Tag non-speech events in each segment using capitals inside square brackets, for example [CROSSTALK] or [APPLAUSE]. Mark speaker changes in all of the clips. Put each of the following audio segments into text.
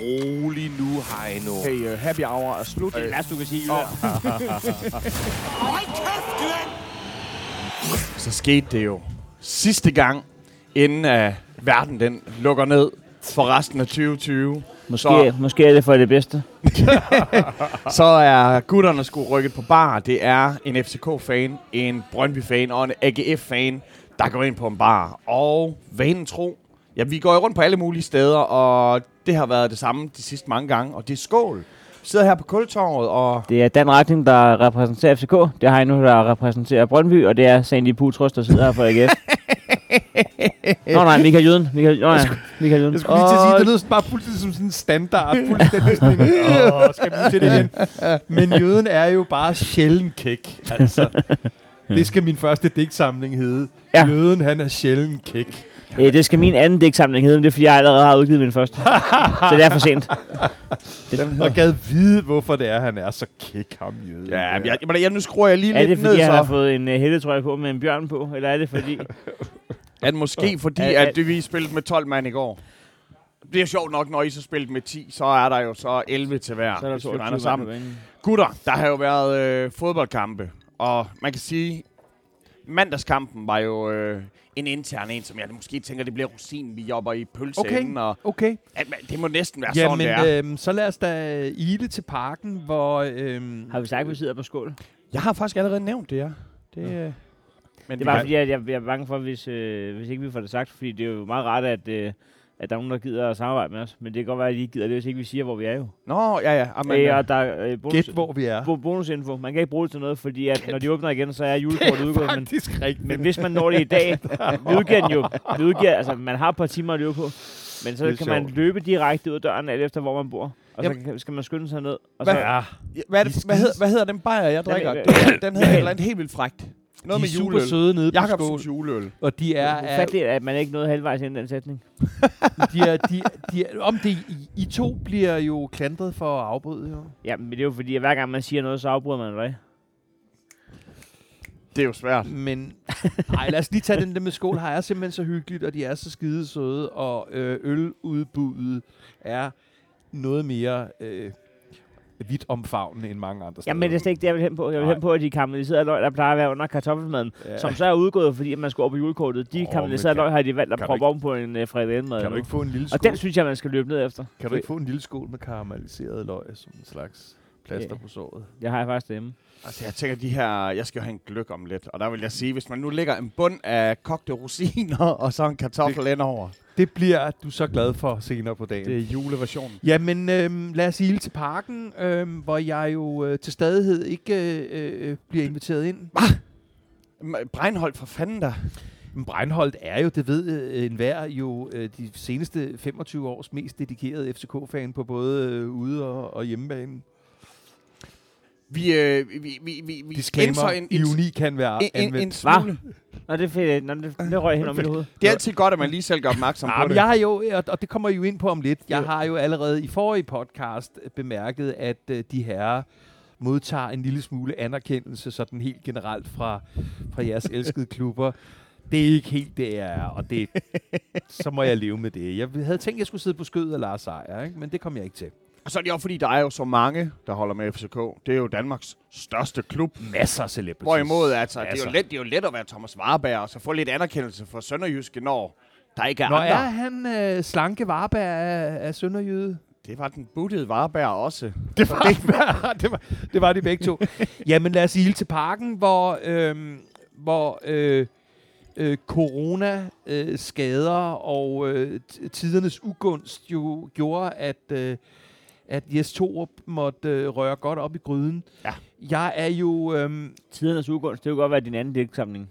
Speaker 1: rolig nu, Heino.
Speaker 2: Okay, uh, happy hour er slut.
Speaker 1: Det er last, du kan sige, Jylland.
Speaker 2: Så skete det jo sidste gang, inden at verden den lukker ned for resten af 2020.
Speaker 3: Måske, måske er det for det bedste.
Speaker 2: Så er gutterne sgu rykket på bar. Det er en FCK-fan, en Brøndby-fan og en AGF-fan, der går ind på en bar. Og vanen tro, ja, vi går jo rundt på alle mulige steder, og det har været det samme de sidste mange gange. Og det er skål. Vi sidder her på Kultorvet, og
Speaker 3: Det er Dan Ratting, der repræsenterer FCK. Det er Heino, der repræsenterer Brøndby. Og det er Sandy Putros, der sidder her for AGF. Nå nej, Michael Jøden. Michael, nå, ja. Michael Jøden.
Speaker 4: Jeg skulle lige til at sige,
Speaker 3: Og
Speaker 4: det lyder sådan bare fuldstændig som sådan en standard. Fuldstændig sådan en, [LAUGHS] åh, skal vi til det igen? Men jøden er jo bare sjældent kæk, altså. Det skal min første digtsamling hedde.
Speaker 3: Ja.
Speaker 4: Ja. Jøden, han er sjældent kæk.
Speaker 3: Øh, det skal min anden digtsamling hedde, men det er fordi, jeg allerede har udgivet min første. så det er for sent. Det,
Speaker 4: Og gad vide, hvorfor det er, han er så kæk, ham jøden.
Speaker 2: Ja, jeg, jeg, jeg, nu skruer jeg lige
Speaker 3: er det
Speaker 2: lidt
Speaker 3: fordi,
Speaker 2: ned,
Speaker 3: jeg har
Speaker 2: så.
Speaker 3: fået en uh, hættetrøje på med en bjørn på? Eller er det fordi...
Speaker 2: At måske fordi,
Speaker 3: Er- er-
Speaker 2: at det, vi spillede med 12 mand i går. Det er sjovt nok, når I så spillede med 10, så er der jo så 11 til hver,
Speaker 3: så er der
Speaker 2: hvis vi
Speaker 3: 22
Speaker 2: regner
Speaker 3: mand
Speaker 2: sammen.
Speaker 3: på banen.
Speaker 2: Gutter, der har jo været øh, fodboldkampe, og man kan sige, mandagskampen var jo øh, en intern en, som jeg måske tænker, det bliver rosinen, vi jobber i pølseenden, okay. øh, og
Speaker 4: Okay,
Speaker 2: at, man- det må næsten være
Speaker 4: ja,
Speaker 2: sådan, det er.
Speaker 4: men øhm, så lad os da ile til parken, hvor... Øhm,
Speaker 3: Har vi sagt, at vi sidder på skål?
Speaker 2: Jeg har faktisk allerede nævnt det, ja. Det, øh, men
Speaker 3: Det
Speaker 2: det
Speaker 3: var
Speaker 2: var,
Speaker 3: fordi, at jeg, jeg er bange for, hvis, øh, hvis ikke vi får det sagt, fordi det er jo meget rart, at, øh, at der er nogen, der gider at samarbejde med os. Men det kan godt være, at de ikke gider det, hvis ikke vi siger, hvor vi er jo.
Speaker 2: Nå, ja, ja.
Speaker 3: Men,
Speaker 2: Amen,
Speaker 3: øh,
Speaker 2: ja.
Speaker 3: og der er øh, bonus,
Speaker 4: Gæt, hvor vi er.
Speaker 3: bo- bonusinfo. Man kan ikke bruge det til noget, fordi at, når de åbner igen, så er julekortet udgået. Men,
Speaker 4: Faktisk rigtigt.
Speaker 3: men hvis man når det i
Speaker 4: [LAUGHS]
Speaker 3: dag, vi udgiver den jo. Vi udgiver, altså, man har et par timer at løbe på. Men så
Speaker 4: Det er
Speaker 3: kan man
Speaker 4: sjovt.
Speaker 3: løbe direkte ud af døren, alt efter hvor man bor. Og så
Speaker 2: Jamen.
Speaker 3: kan- skal man skynde sig ned. Og
Speaker 2: Hvad-
Speaker 3: så,
Speaker 4: Ja,
Speaker 2: Hvad, er det, hvad, hedder, hvad hedder den bajer, jeg drikker?
Speaker 3: øh,
Speaker 2: Den, den [CLEARS THROAT] hedder et eller andet helt vildt frækt.
Speaker 4: de
Speaker 2: Noget
Speaker 4: er
Speaker 2: med
Speaker 4: super
Speaker 2: juleøl.
Speaker 4: søde nede på skål.
Speaker 2: Jakobsens juleøl.
Speaker 4: Og de
Speaker 3: det
Speaker 4: er,
Speaker 3: er
Speaker 4: er,
Speaker 3: ufatteligt, at man ikke nåede halvvejs ind i den sætning.
Speaker 4: de er, de, de er, om det, I, I to bliver jo klandret for at afbryde, jo.
Speaker 3: Ja, men det er jo fordi, at hver gang man siger noget, så afbryder man dig.
Speaker 2: Det er jo svært.
Speaker 4: Men nej, lad os lige tage den der med skål. Her er simpelthen så hyggeligt, og de er så skide søde, og øh, øludbuddet er noget mere øh, vidt omfavnende end mange andre steder.
Speaker 3: Jamen, det er slet ikke det, jeg vil hen på. Jeg vil
Speaker 4: Nej.
Speaker 3: hen på, at de karamelliserede løg, der plejer at være under kartoffelmaden, ja. som så er udgået, fordi man skulle op på julekortet. De
Speaker 4: men
Speaker 3: oh, karamelliserede
Speaker 4: kan-
Speaker 3: løg har de valgt at
Speaker 4: kan du
Speaker 3: proppe oven på en uh, frikadelle
Speaker 4: Kan du ikke få en lille skål?
Speaker 3: Og den synes jeg, man skal løbe ned efter.
Speaker 4: Kan du ikke få en lille skål med karamelliseret løg som en slags plaster
Speaker 3: Ja.
Speaker 4: på såret?
Speaker 3: Det har jeg faktisk derhjemme.
Speaker 2: Altså, jeg tænker, de her... Jeg skal jo have en gløk om lidt. Og der vil jeg sige, hvis man nu lægger en bund af kogte rosiner [LAUGHS] og så en kartoffel ind over.
Speaker 4: Det bliver du så glad for senere på dagen.
Speaker 2: Det er juleversionen.
Speaker 4: Jamen, øhm, lad os ile til parken, øhm, hvor jeg jo øh, til stadighed ikke øh, øh, bliver inviteret ind.
Speaker 2: M- Breinholt, for fanden der.
Speaker 4: Men Breinholt er jo, det ved øh, enhver, jo øh, de seneste 25 års mest dedikerede FCK-fan på både øh, ude- og, og hjemmebane.
Speaker 2: Vi, øh, vi, vi, vi, vi
Speaker 4: Disclaimer,
Speaker 2: indser
Speaker 4: en,
Speaker 2: en,
Speaker 4: ironi kan være
Speaker 2: en, en,
Speaker 4: anvendt.
Speaker 2: en smule.
Speaker 3: Nå, det, er fedt. Nå, det, det røg hen om mit hoved.
Speaker 2: Det er altid godt, at man lige selv gør opmærksom
Speaker 4: Ja,
Speaker 2: på
Speaker 4: men
Speaker 2: det.
Speaker 4: jeg har jo, og- og det kommer I jo ind på om lidt, jeg har jo allerede i forrige podcast øh, bemærket, at øh, de herrer modtager en lille smule anerkendelse sådan helt generelt fra, fra jeres elskede klubber. Det er ikke helt det, jeg er, og det, så må jeg leve med det. Jeg havde tænkt, at jeg skulle sidde på skødet af Lars Seier, ikke? men det kom jeg ikke til.
Speaker 2: Og så er det jo, fordi der er jo så mange, der holder med FCK. Det er jo Danmarks største klub.
Speaker 4: Masser af celebrities.
Speaker 2: Hvorimod, altså, det er,
Speaker 4: Altså.
Speaker 2: jo let, det er jo let at være Thomas Warberg, og så få lidt anerkendelse for Sønderjyske, når der ikke er
Speaker 4: Nå,
Speaker 2: andre.
Speaker 4: er han øh, slanke varberg af, af Sønderjyde?
Speaker 2: Det var den buttede Warberg også.
Speaker 4: [LAUGHS] Det var, det, var, det, var, det var de begge to. Jamen lad os ilde til parken, hvor, øhm, hvor øh, øh, corona, øh, skader og øh, t- tidernes ugunst jo gjorde, at, øh, at Jes Torup måtte øh, røre godt op i gryden.
Speaker 2: Ja.
Speaker 4: Jeg er jo... Øhm,
Speaker 3: Tidernes ugunst, det kunne godt være din anden digtsamling.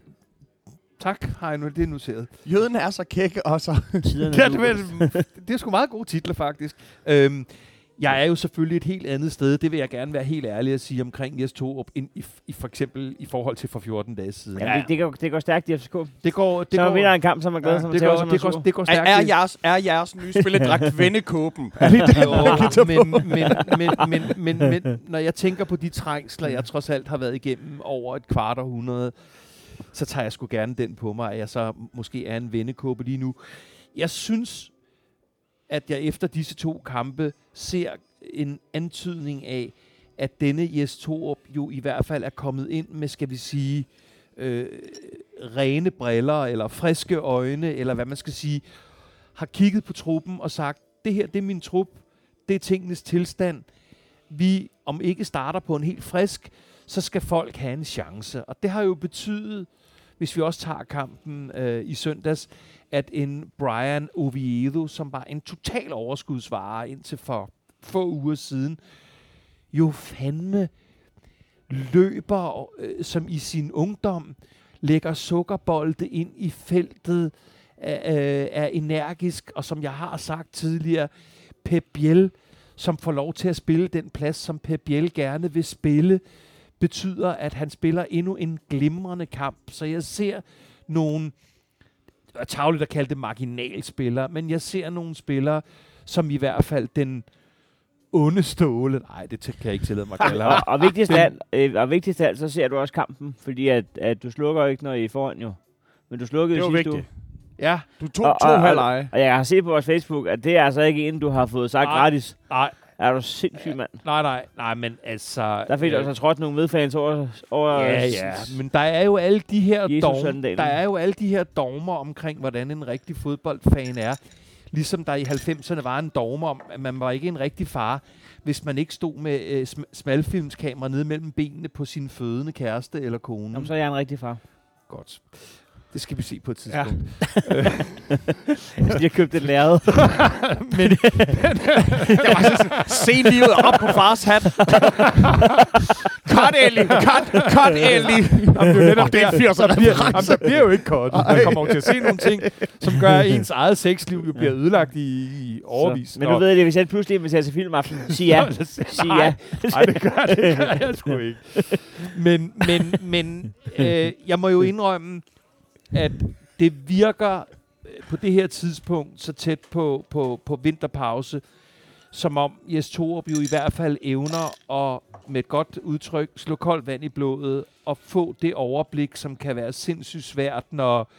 Speaker 4: tak, Heino, det er noteret.
Speaker 2: Jøden er så kæk, og så...
Speaker 3: Tidernes
Speaker 4: Ja, det,
Speaker 3: ugunst.
Speaker 4: var, det er sgu meget gode titler, faktisk. Øhm, jeg er jo selvfølgelig et helt andet sted, det vil jeg gerne være helt ærlig at sige omkring Jes Torup, end i, f- i for eksempel i forhold til for 14 dage siden.
Speaker 3: Ja, det, det, går, det går stærkt i FCK. Det
Speaker 4: Det går, det
Speaker 3: så man
Speaker 4: går,
Speaker 3: vinder en kamp, som man glæder sig, man
Speaker 4: det,
Speaker 3: tager,
Speaker 4: går,
Speaker 3: som man
Speaker 4: det,
Speaker 3: sur.
Speaker 4: går, det går
Speaker 2: Er,
Speaker 4: stærkt.
Speaker 2: er, jeres, er jeres nye spilledragt vendekåben? Er det det?
Speaker 4: [LAUGHS] Jo, men, men, men, men, men, men når jeg tænker på de trængsler, jeg trods alt har været igennem over et kvart århundrede, så tager jeg sgu gerne den på mig, at jeg så måske er en vendekåbe lige nu. Jeg synes, at jeg efter disse to kampe ser en antydning af, at denne Jes Torup jo i hvert fald er kommet ind med, skal vi sige, øh, rene briller, eller friske øjne, eller hvad man skal sige, har kigget på truppen og sagt, det her, det er min trup, det er tingenes tilstand. Vi, om ikke starter på en helt frisk, så skal folk have en chance. Og det har jo betydet, hvis vi også tager kampen øh, i søndags, at en Brian Oviedo, som var en total overskudsvare indtil for få uger siden, jo fandme løber, øh, som i sin ungdom lægger sukkerbolde ind i feltet, øh, er energisk, og som jeg har sagt tidligere, Pep Biel, som får lov til at spille den plads, som Pep Biel gerne vil spille, betyder, at han spiller endnu en glimrende kamp. Så jeg ser nogle, det er tavligt at kalde det marginalspillere, men jeg ser nogle spillere, som i hvert fald den onde ståle, nej, det kan jeg ikke tillade mig at kalde ham.
Speaker 3: Og, og, vigtigst af alt, øh, og vigtigst af alt, så ser du også kampen, fordi at, at du slukker jo ikke, når I er foran jo. Men du slukkede
Speaker 2: Det
Speaker 3: jo
Speaker 2: var
Speaker 3: sidste
Speaker 2: vigtigt.
Speaker 3: uge.
Speaker 4: [LAUGHS] Ja,
Speaker 2: Du tog to halvleje.
Speaker 3: Og jeg har set på vores Facebook, at det er altså ikke en, du har fået sagt
Speaker 4: Nej.
Speaker 3: gratis.
Speaker 4: nej,
Speaker 3: Er du sindssyg, mand?
Speaker 4: nej, nej, nej, men altså...
Speaker 3: Der fik du
Speaker 4: øh,
Speaker 3: altså trådt nogle medfans over... over
Speaker 4: Ja, ja, men der er jo alle de her
Speaker 3: Jesus
Speaker 4: dogmer,
Speaker 3: Sandalen.
Speaker 4: der er jo alle de her dogmer omkring, hvordan en rigtig fodboldfan er. Ligesom der i 90'erne var en dogme om, at man var ikke en rigtig far, hvis man ikke stod med øh, sm- smalfilmskamera nede mellem benene på sin fødende kæreste eller kone.
Speaker 3: Jamen, så er jeg en rigtig far.
Speaker 4: Godt. Det skal vi se på et tidspunkt.
Speaker 3: Jeg Altså, har købt et lærred.
Speaker 2: Se livet op på fars hat. [LAUGHS] Cut, Ellie. Cut, cut, Ellie.
Speaker 4: [LAUGHS] Jamen, det er jo netop
Speaker 2: Det er en 80'er
Speaker 4: Jamen, der bliver jo ikke kort. Man kommer jo til at se nogle ting, som gør, at ens eget sexliv jo bliver ødelagt i, i overvis.
Speaker 3: Så. Men du ved det, hvis jeg pludselig inviterer til filmaften,
Speaker 4: [LAUGHS]
Speaker 3: sig ja. Sig
Speaker 4: Nej.
Speaker 3: ja.
Speaker 4: Nej, det gør det, det gør jeg sgu ikke. Men, men, men øh, jeg må jo indrømme, at det virker øh, på det her tidspunkt så tæt på, på, på vinterpause, som om Jes Torup jo i hvert fald evner at med et godt udtryk slå koldt vand i blodet og få det overblik, som kan være sindssygt svært, når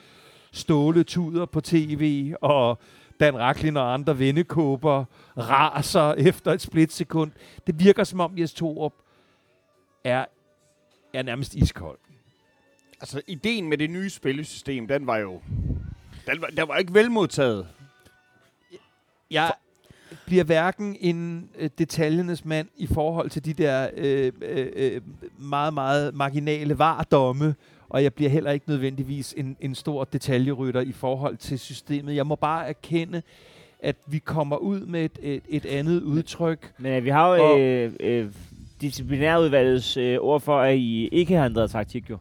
Speaker 4: Ståle tuder på tv, og Dan Raklin og andre vendekåber raser efter et splitsekund. Det virker som om Jes Torup er, er nærmest iskold.
Speaker 2: Altså, ideen med det nye spillesystem, den var jo... Den var, den var ikke velmodtaget.
Speaker 4: Jeg bliver hverken en øh, detaljenes mand i forhold til de der øh, øh, øh, meget, meget marginale vardomme, og jeg bliver heller ikke nødvendigvis en, en stor detaljerytter i forhold til systemet. Jeg må bare erkende, at vi kommer ud med et, et, et andet udtryk.
Speaker 3: Men øh, vi har jo
Speaker 4: Og-
Speaker 3: øh, øh, disciplinærudvalgets øh, ord for, at I ikke har ændret taktik, jo.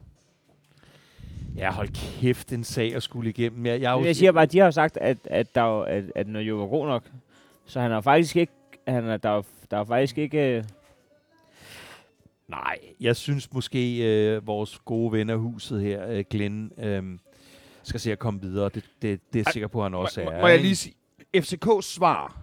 Speaker 4: Ja, hold kæft, en sag at skulle igennem. Jeg, jeg, er jo-
Speaker 3: Men jeg siger bare, at de har jo sagt, at, at, der jo, at, at når jo var god nok, så han har faktisk ikke... Han er, der, er, der er faktisk ikke... Øh,
Speaker 4: Nej, jeg synes måske, øh, vores gode ven af huset her, øh, Glenn, øh, skal se at komme videre. Det, det, det er jeg sikker på, at han også
Speaker 2: Må,
Speaker 4: er.
Speaker 2: må jeg
Speaker 4: ikke?
Speaker 2: lige sige, FCK's svar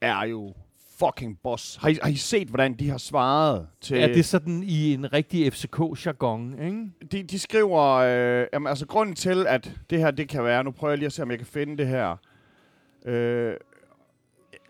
Speaker 2: er jo fucking boss. Har I, har I set, hvordan de har svaret til...
Speaker 4: Er det sådan i en rigtig FCK-jargon, ikke?
Speaker 2: de, de skriver, øh, jamen, altså grunden til, at det her, det kan være, nu prøver jeg lige at se, om jeg kan finde det her. Øh,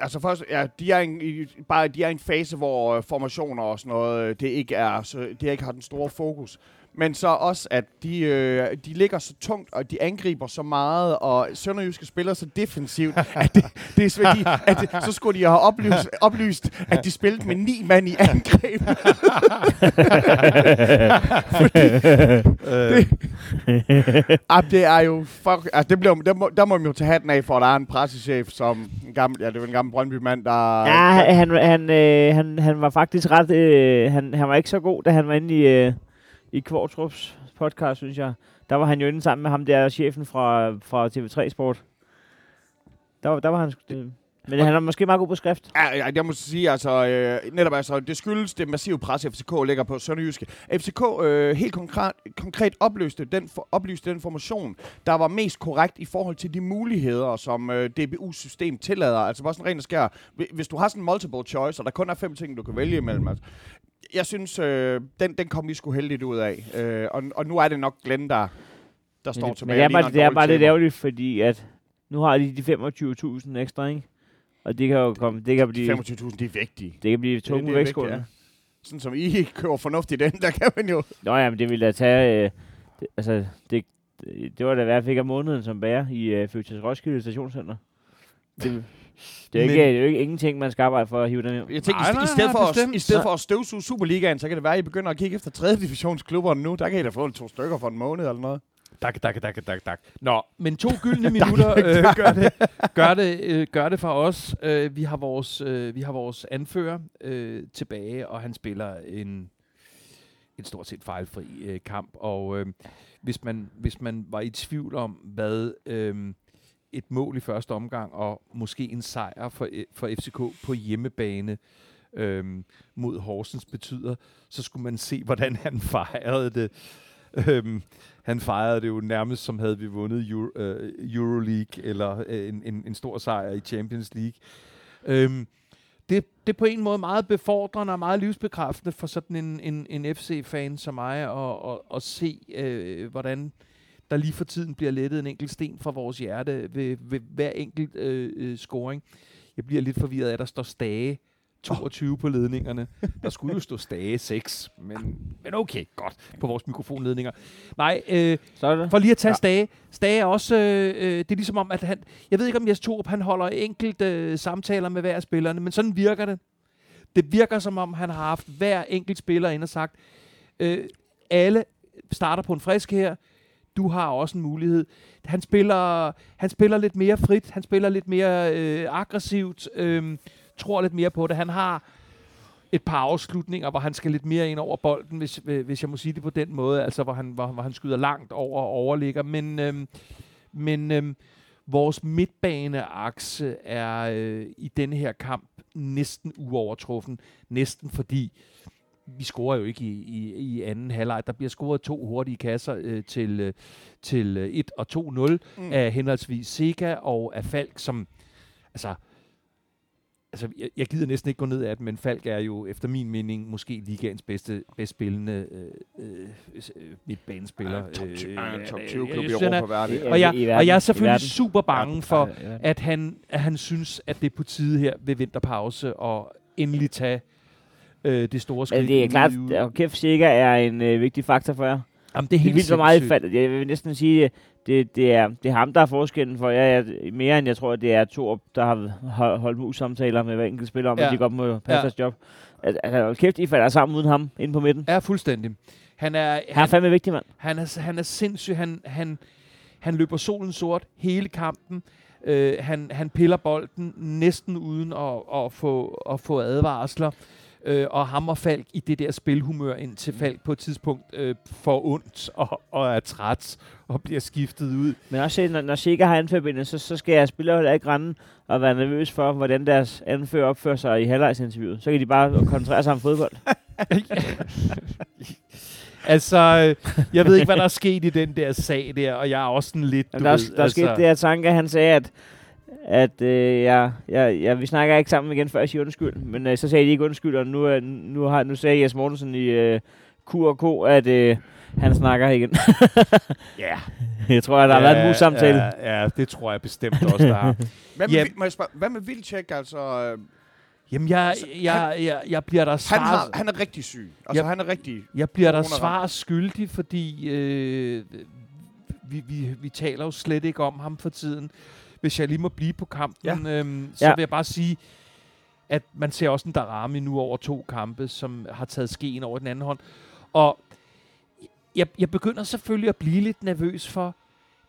Speaker 2: altså først, ja, de er, en, i- bare, de er i en fase, hvor øh, formationer og sådan noget, øh, det ikke, er, så, det ikke har den store fokus. Men så også, at de, øh, de ligger så tungt, og de angriber så meget, og Sønderjyske spiller så defensivt, at, det, det er svært, de, at det, så skulle de have oplyst, oplyst, at de spillede med ni mand i angreb. [LAUGHS] Ah, det er jo fuck... Altså, det blev, der, må, der må man jo tage hatten af, for der er en pressechef, som en gammel, ja, det var en gammel Brøndby-mand, der...
Speaker 3: Ja, han, han, han, øh, han, han var faktisk ret... Øh, han, han var ikke så god, da han var inde i, øh, i Kvartrups podcast, synes jeg. Der var han jo inde sammen med ham der, chefen fra, fra TV3 Sport. Der, var- der var han... sgu- Det. Men han er måske meget god på skrift.
Speaker 2: Ja, ja, jeg må sige, altså, øh, netop altså, det skyldes det massive pres, FCK lægger på Sønderjyske. FCK øh, helt konkret, konkret opløste den, for, oplyste den formation, der var mest korrekt i forhold til de muligheder, som øh, DBU's system tillader. Altså bare sådan rent og skær. Hvi- Hvis du har sådan en multiple choice, og der kun er fem ting, du kan vælge imellem, altså, jeg synes, øh, den, den kom vi sgu heldigt ud af. Øh, og, og nu er det nok Glenn, der, der står
Speaker 3: Men det,
Speaker 2: tilbage.
Speaker 3: men det er
Speaker 2: og ligner
Speaker 3: bare,
Speaker 2: en dårlig
Speaker 3: det er bare lidt
Speaker 2: taber.
Speaker 3: ærgerligt, fordi at nu har de de 25.000 ekstra, ikke? Og det kan jo komme, det kan
Speaker 2: De
Speaker 3: blive,
Speaker 2: 25.000, de er vigtige.
Speaker 3: det kan blive
Speaker 2: det
Speaker 3: tunge
Speaker 2: er vægtigt,
Speaker 3: vægtskål.
Speaker 2: ja. Sådan som I [LAUGHS] kører fornuftigt den, der kan man jo...
Speaker 3: Nå ja, men det ville da tage, øh, det, altså det, det var da hvad jeg fik af måneden som bærer i øh, Føtex Roskilde Stationscenter. Det, det, er jo ikke, øh,
Speaker 2: Men-
Speaker 3: det er jo ikke ingenting, man skal arbejde for at hive den hjem.
Speaker 2: Jeg tænker,
Speaker 4: Nej,
Speaker 2: nej,
Speaker 4: nej,
Speaker 2: i, stedet
Speaker 4: nej,
Speaker 2: for at,
Speaker 4: bestemt.
Speaker 2: i stedet for at støvsuge Superligaen, så kan det være, at I begynder at kigge efter 3. divisionsklubberne nu. Der kan I da få to stykker for en måned eller noget.
Speaker 4: Dak, dak, dak, dak, dak. Nå, men to gyldne minutter øh, gør, det, gør, det, øh, gør det for os. Øh, vi, har vores, øh, vi har vores anfører øh, tilbage, og han spiller en, en stort set fejlfri øh, kamp. Og øh, hvis, man, hvis man var i tvivl om, hvad øh, et mål i første omgang, og måske en sejr for, øh, for FCK på hjemmebane øh, mod Horsens betyder, så skulle man se, hvordan han [LAUGHS] fejrede det. Øhm, han fejrede det jo nærmest som havde vi vundet Euro, øh, Euroleague eller øh, en, en, en stor sejr i Champions League. Øhm, det, det er på en måde meget befordrende og meget livsbekræftende for sådan en, en, en FC-fan som mig at, at, at se, øh, hvordan der lige for tiden bliver lettet en enkelt sten fra vores hjerte ved, ved hver enkelt øh, øh, scoring. Jeg bliver lidt forvirret af, at der står stage 22 oh. på ledningerne. Der skulle jo stå stage 6, men, men okay, godt, på vores mikrofonledninger. Nej, øh,
Speaker 3: Så er det.
Speaker 4: for lige at tage ja. Stage. Stage er også, øh, øh, det er ligesom om, at han, jeg ved ikke om Jes Torup, han holder enkelt øh, samtaler med hver af spillerne, men sådan virker det. Det virker som om, han har haft hver enkelt spiller ind og sagt, øh, alle starter på en frisk her, du har også en mulighed. Han spiller, han spiller lidt mere frit, han spiller lidt mere øh, aggressivt, øh, tror lidt mere på det. Han har et par afslutninger, hvor han skal lidt mere ind over bolden, hvis, hvis jeg må sige det på den måde, altså hvor han, hvor, hvor han skyder langt over og overligger. Men, øhm, men øhm, vores midtbaneakse er øh, i denne her kamp næsten uovertruffen. Næsten fordi vi scorer jo ikke i, i, i anden halvleg. Der bliver scoret to hurtige kasser øh, til, øh, til øh, 1 og 2-0 mm.
Speaker 2: Mm.
Speaker 4: af henholdsvis Sega og af Falk, som altså altså, jeg, jeg gider næsten ikke gå ned af det, men Falk er jo efter min mening måske ligaens bedste, bedst spillende øh, øh, øh, midtbanespiller.
Speaker 2: Top 20,
Speaker 4: Øh,
Speaker 2: øh, top
Speaker 4: jeg-
Speaker 2: 20
Speaker 4: jeg
Speaker 2: klub i
Speaker 4: synes, han er-
Speaker 2: Europa, hvad er det?
Speaker 3: Ja.
Speaker 4: Og jeg,
Speaker 3: Øh, I
Speaker 4: og
Speaker 3: verden.
Speaker 4: jeg er
Speaker 3: I
Speaker 4: selvfølgelig
Speaker 3: verden.
Speaker 4: super bange for,
Speaker 3: Ja, ja.
Speaker 4: at han, at han synes, at det er på tide her ved vinterpause og endelig tage øh, det store skridt.
Speaker 3: Men Altså, det er
Speaker 4: ud
Speaker 3: klart,
Speaker 4: i ugen.
Speaker 3: at kæft sikker er en øh, vigtig faktor for jer.
Speaker 4: Jamen, det er
Speaker 3: Det er
Speaker 4: helt
Speaker 3: vildt, hvor meget I
Speaker 4: sindssygt.
Speaker 3: faldt. Jeg vil næsten sige, at det, det, er, det er ham, der er forskellen for jer. Jeg, mere end jeg tror, at det er to, der har- har holdt mus-samtaler med hver enkelt spiller om, ja.
Speaker 4: Ja.
Speaker 3: at de godt må passe
Speaker 4: Ja.
Speaker 3: ja. deres job. Altså, altså, hold kæft, I falder sammen uden ham inde på midten.
Speaker 4: Ja, fuldstændig. Han er,
Speaker 3: Han er
Speaker 4: han,
Speaker 3: fandme vigtig, mand.
Speaker 4: han er, han er sindssyg. Han, han, han løber solen sort hele kampen. Øh, han, han piller bolden næsten uden at, at, få, at få advarsler. Øh, og hammer Falk i det der spilhumør, indtil
Speaker 3: Mm.
Speaker 4: Falk på et tidspunkt øh, får ondt og, og er træt og bliver skiftet ud. [LAUGHS]
Speaker 3: Men også, når, når Sikker har anførbindelse, så, så skal jeg spille heller ikke rende og være nervøs for, hvordan deres anfører opfører sig i halvlejsinterviewet. Så kan de bare koncentrere sig om fodbold.
Speaker 4: Altså, øh, jeg ved ikke, hvad der er sket i den der sag der, og jeg er også sådan lidt... altså,
Speaker 3: Jamen, der, er, der er sket det her tanke, at han sagde, at, at øh, jeg, jeg, jeg, vi snakker ikke sammen igen, før jeg siger undskyld. Men øh, så sagde de ikke undskyld, og nu, er- nu, har, nu sagde Jes Mortensen i øh, Q&K, at øh, han snakker igen. [LAUGHS]
Speaker 4: Ja.
Speaker 3: jeg tror, at der har været en mus-samtale. Ja.
Speaker 4: Ja, ja, det tror jeg bestemt også, der har.
Speaker 2: Hvad
Speaker 4: Ja.
Speaker 2: med, yep. må jeg spørge, hvad med Vilcek? Altså, øh,
Speaker 4: Jamen, jeg, jeg, jeg, jeg bliver der
Speaker 2: han,
Speaker 4: svar...
Speaker 2: har, han er rigtig syg. Altså,
Speaker 4: Yep.
Speaker 2: han er rigtig...
Speaker 4: Jeg bliver der
Speaker 2: Corona
Speaker 4: svar skyldig, fordi øh, vi, vi, vi taler jo slet ikke om ham for tiden. Hvis jeg lige må blive på kampen, ja. øhm, så ja.
Speaker 3: Ja.
Speaker 4: vil jeg bare sige, at man ser også en Darami nu over to kampe, som har taget skeen over den anden hånd. Og jeg, jeg begynder selvfølgelig at blive lidt nervøs for,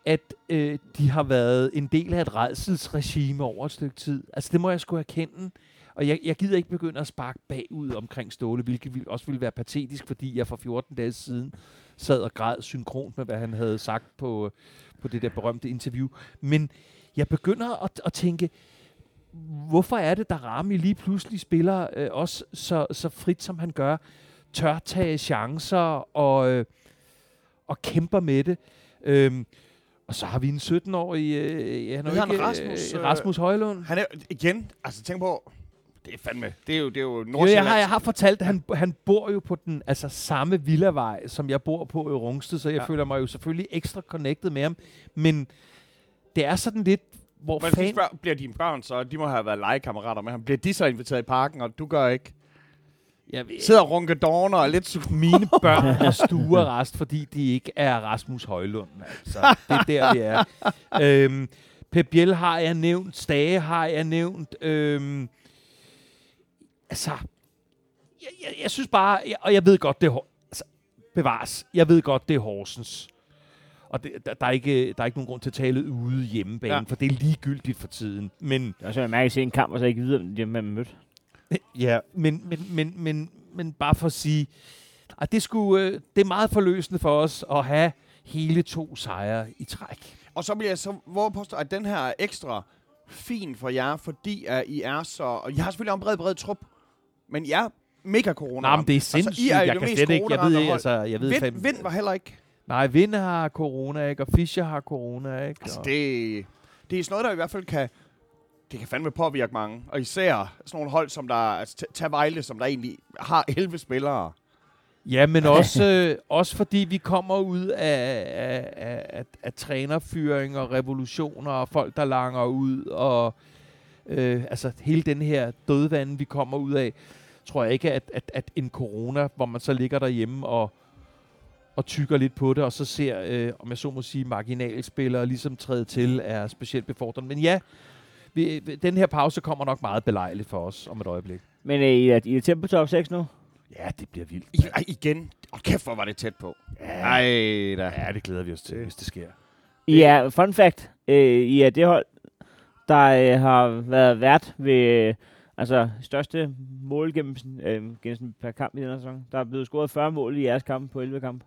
Speaker 4: at øh, de har været en del af et redselsregime over et stykke tid. Altså, det må jeg skulle erkende. Og jeg, jeg gider ikke begynde at sparke bagud omkring Ståle, hvilket vil, også ville være patetisk, fordi jeg for 14 dage siden sad og græd synkront med, hvad han havde sagt på, på det der berømte interview. Men jeg begynder at, at tænke, hvorfor er det, der Rami lige pludselig spiller øh, også så, så frit, som han gør, tør tage chancer og, øh, og kæmper med det. Øhm, og så har vi en 17-årig, øh, han er jo
Speaker 2: Hedder han
Speaker 4: ikke,
Speaker 2: Rasmus,
Speaker 4: øh,
Speaker 2: øh,
Speaker 4: Rasmus Højlund.
Speaker 2: Han er, igen, altså tænk på... Det er fandme... Det er jo, det er jo
Speaker 4: Jo, jeg
Speaker 2: Nordsjælland.
Speaker 4: har, jeg har fortalt, at han, han bor jo på den altså, samme villavej, som jeg bor på i Rungsted, så jeg ja.
Speaker 2: Ja.
Speaker 4: føler mig jo selvfølgelig ekstra connected med ham. Men det er sådan lidt, hvor
Speaker 2: Men
Speaker 4: fanden...
Speaker 2: spørg, bliver dine børn så, de må have været legekammerater med ham, bliver de så inviteret i parken, og du gør ikke?
Speaker 4: Jeg ved,
Speaker 2: Sidder og runker dårner og er lidt sur.
Speaker 4: [LAUGHS] mine børn er stuerrest, fordi de ikke er Rasmus Højlund. Altså, det er der, vi er. Øhm, Pep Biel har jeg nævnt, Stage har jeg nævnt. Øhm, altså, jeg, jeg, jeg synes bare, jeg, og jeg ved godt, det er, Hor- altså, bevares. Jeg ved godt, det er Horsens. Og det, der, der, er ikke, der er ikke nogen grund til at tale ude hjemmebane,
Speaker 2: Ja.
Speaker 4: ja. for det er ligegyldigt for tiden. Men
Speaker 3: Det er også mærkeligt at se en kamp, og så ikke vide, hvem de- hvem man mødte.
Speaker 4: Øh, Ja, men, men, men, men, men bare for at sige, at det, skulle, øh, det er meget forløsende for os at have hele to sejre i træk.
Speaker 2: Og så bliver jeg så, hvor jeg påstår, at den her er ekstra fin for jer, fordi at I er så... Og I har selvfølgelig også en bred, bred trup, men I er mega corona.
Speaker 4: Nej, men det er sindssygt.
Speaker 2: altså, I er jo
Speaker 4: jeg
Speaker 2: det
Speaker 4: kan
Speaker 2: mest
Speaker 4: slet ikke. Jeg ved,
Speaker 2: coronaramte
Speaker 4: ikke,
Speaker 2: hold.
Speaker 4: altså, jeg ved
Speaker 2: Vind,
Speaker 4: fandme-
Speaker 2: vind var heller ikke.
Speaker 4: Nej, Vind har corona, ikke? Og Fischer har corona, ikke?
Speaker 2: Altså,
Speaker 4: Og-
Speaker 2: det, det er sådan noget, der i hvert fald kan, det kan fandme påvirke mange. Og især sådan nogle hold, som der, altså t- tag Vejle, som der egentlig har 11 spillere.
Speaker 4: Ja, [LAUGHS] men også, øh, også fordi vi kommer ud af, af, af, af, af trænerfyring og revolutioner og folk, der langer ud og øh, altså hele den her dødvand, vi kommer ud af, tror jeg ikke, at, at, at en corona, hvor man så ligger derhjemme og, og tykker lidt på det, og så ser, øh, om jeg så må sige, marginalspillere ligesom træde til, er specielt befordrende. Men ja, vi, den her pause kommer nok meget belejligt for os om et øjeblik.
Speaker 3: Men øh, I, er, I er tæt på top 6 nu?
Speaker 4: Ja, det bliver vildt.
Speaker 2: I, ej, igen. Og kæft, hvor var det tæt på. Ej, da.
Speaker 4: Ja, det glæder vi os til, hvis det sker.
Speaker 3: I er, fun fact, øh, I er det hold, der øh, har været vært ved øh, altså største målgennemsnit øh, gennemsnit per kamp i den her sæson. Der er blevet scoret 40 mål i jeres kampe på 11 kampe.